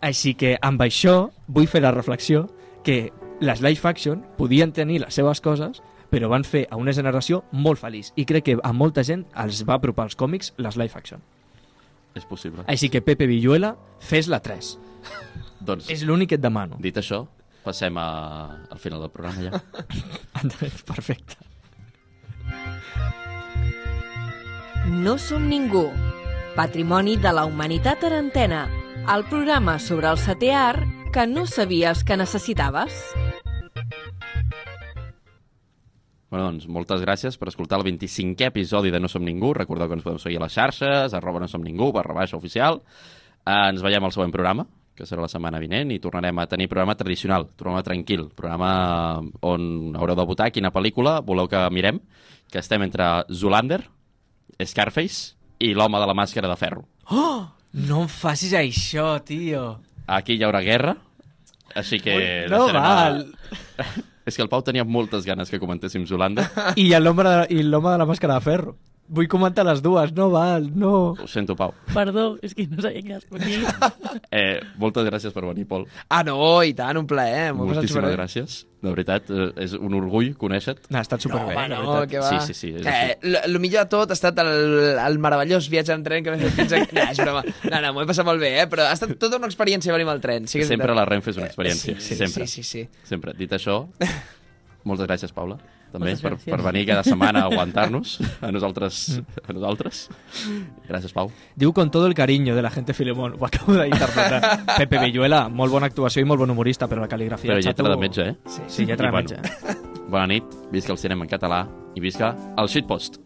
C: Així que amb això vull fer la reflexió que les live action podien tenir les seves coses, però van fer a una generació molt feliç i crec que a molta gent els va apropar als còmics les live action.
A: És possible.
C: Així que Pepe Villuela, fes la 3.
A: Doncs,
C: És l'únic que et demano.
A: dit això, passem a... al final del programa ja.
C: Perfecte.
E: No som ningú. Patrimoni de la Humanitat en Antena, el programa sobre el setè art que no sabies que necessitaves.
A: Bueno, doncs, moltes gràcies per escoltar el 25è episodi de No Som Ningú. Recordeu que ens podeu seguir a les xarxes, arroba no som ningú, barra baixa oficial. Eh, ens veiem al següent programa, que serà la setmana vinent, i tornarem a tenir programa tradicional, programa tranquil, programa eh, on haureu de votar quina pel·lícula voleu que mirem, que estem entre Zoolander, Scarface i l'home de la màscara de ferro.
C: No em facis això, tio.
A: Aquí hi haurà guerra, així que...
C: No
A: deixarem
C: val.
A: És que el Pau tenia moltes ganes que comentéssim Zoolander.
C: I l'home de, i l'home de la màscara de ferro. Vull comentar les dues, no val, no.
A: Ho sento, Pau.
B: Perdó, és que no sabia que escollia.
A: Eh, moltes gràcies per venir, Pol.
F: Ah, no, i tant, un eh, plaer. M'ho he passat
A: Moltíssimes
F: superbé.
A: gràcies. De veritat, eh, és un orgull conèixer-te.
C: No, ha estat superbé.
F: Home,
C: la
F: no,
C: veritat.
F: que va.
A: Sí, sí, sí, és
F: Eh,
A: així.
F: el, el millor de tot ha estat el, el meravellós viatge en tren que m'he fet fins aquí. No, és broma. No, no, m'ho he passat molt bé, eh? Però ha estat tota una experiència venir amb el tren. Sí que és
A: Sempre la
F: veritat. Eh,
A: Renfe és una experiència.
F: Sí, sí,
A: sempre.
F: sí, sí, sí.
A: Sempre. Dit això, moltes gràcies, Paula, també,
B: Moltes
A: per,
B: gràcies.
A: per venir cada setmana a aguantar-nos, a nosaltres. A nosaltres.
F: Mm.
A: Gràcies, Pau.
C: Diu con todo el cariño de la gente Filemón. Ho acabo d'interpretar. Pepe Villuela, molt bona actuació i molt bon humorista, però la cal·ligrafia...
A: Però
C: xato,
A: lletra de metge, eh?
C: Sí, sí
A: I
C: lletra de
A: bueno.
C: metge.
A: Bona nit, visca el cinema en català i visca el shitpost.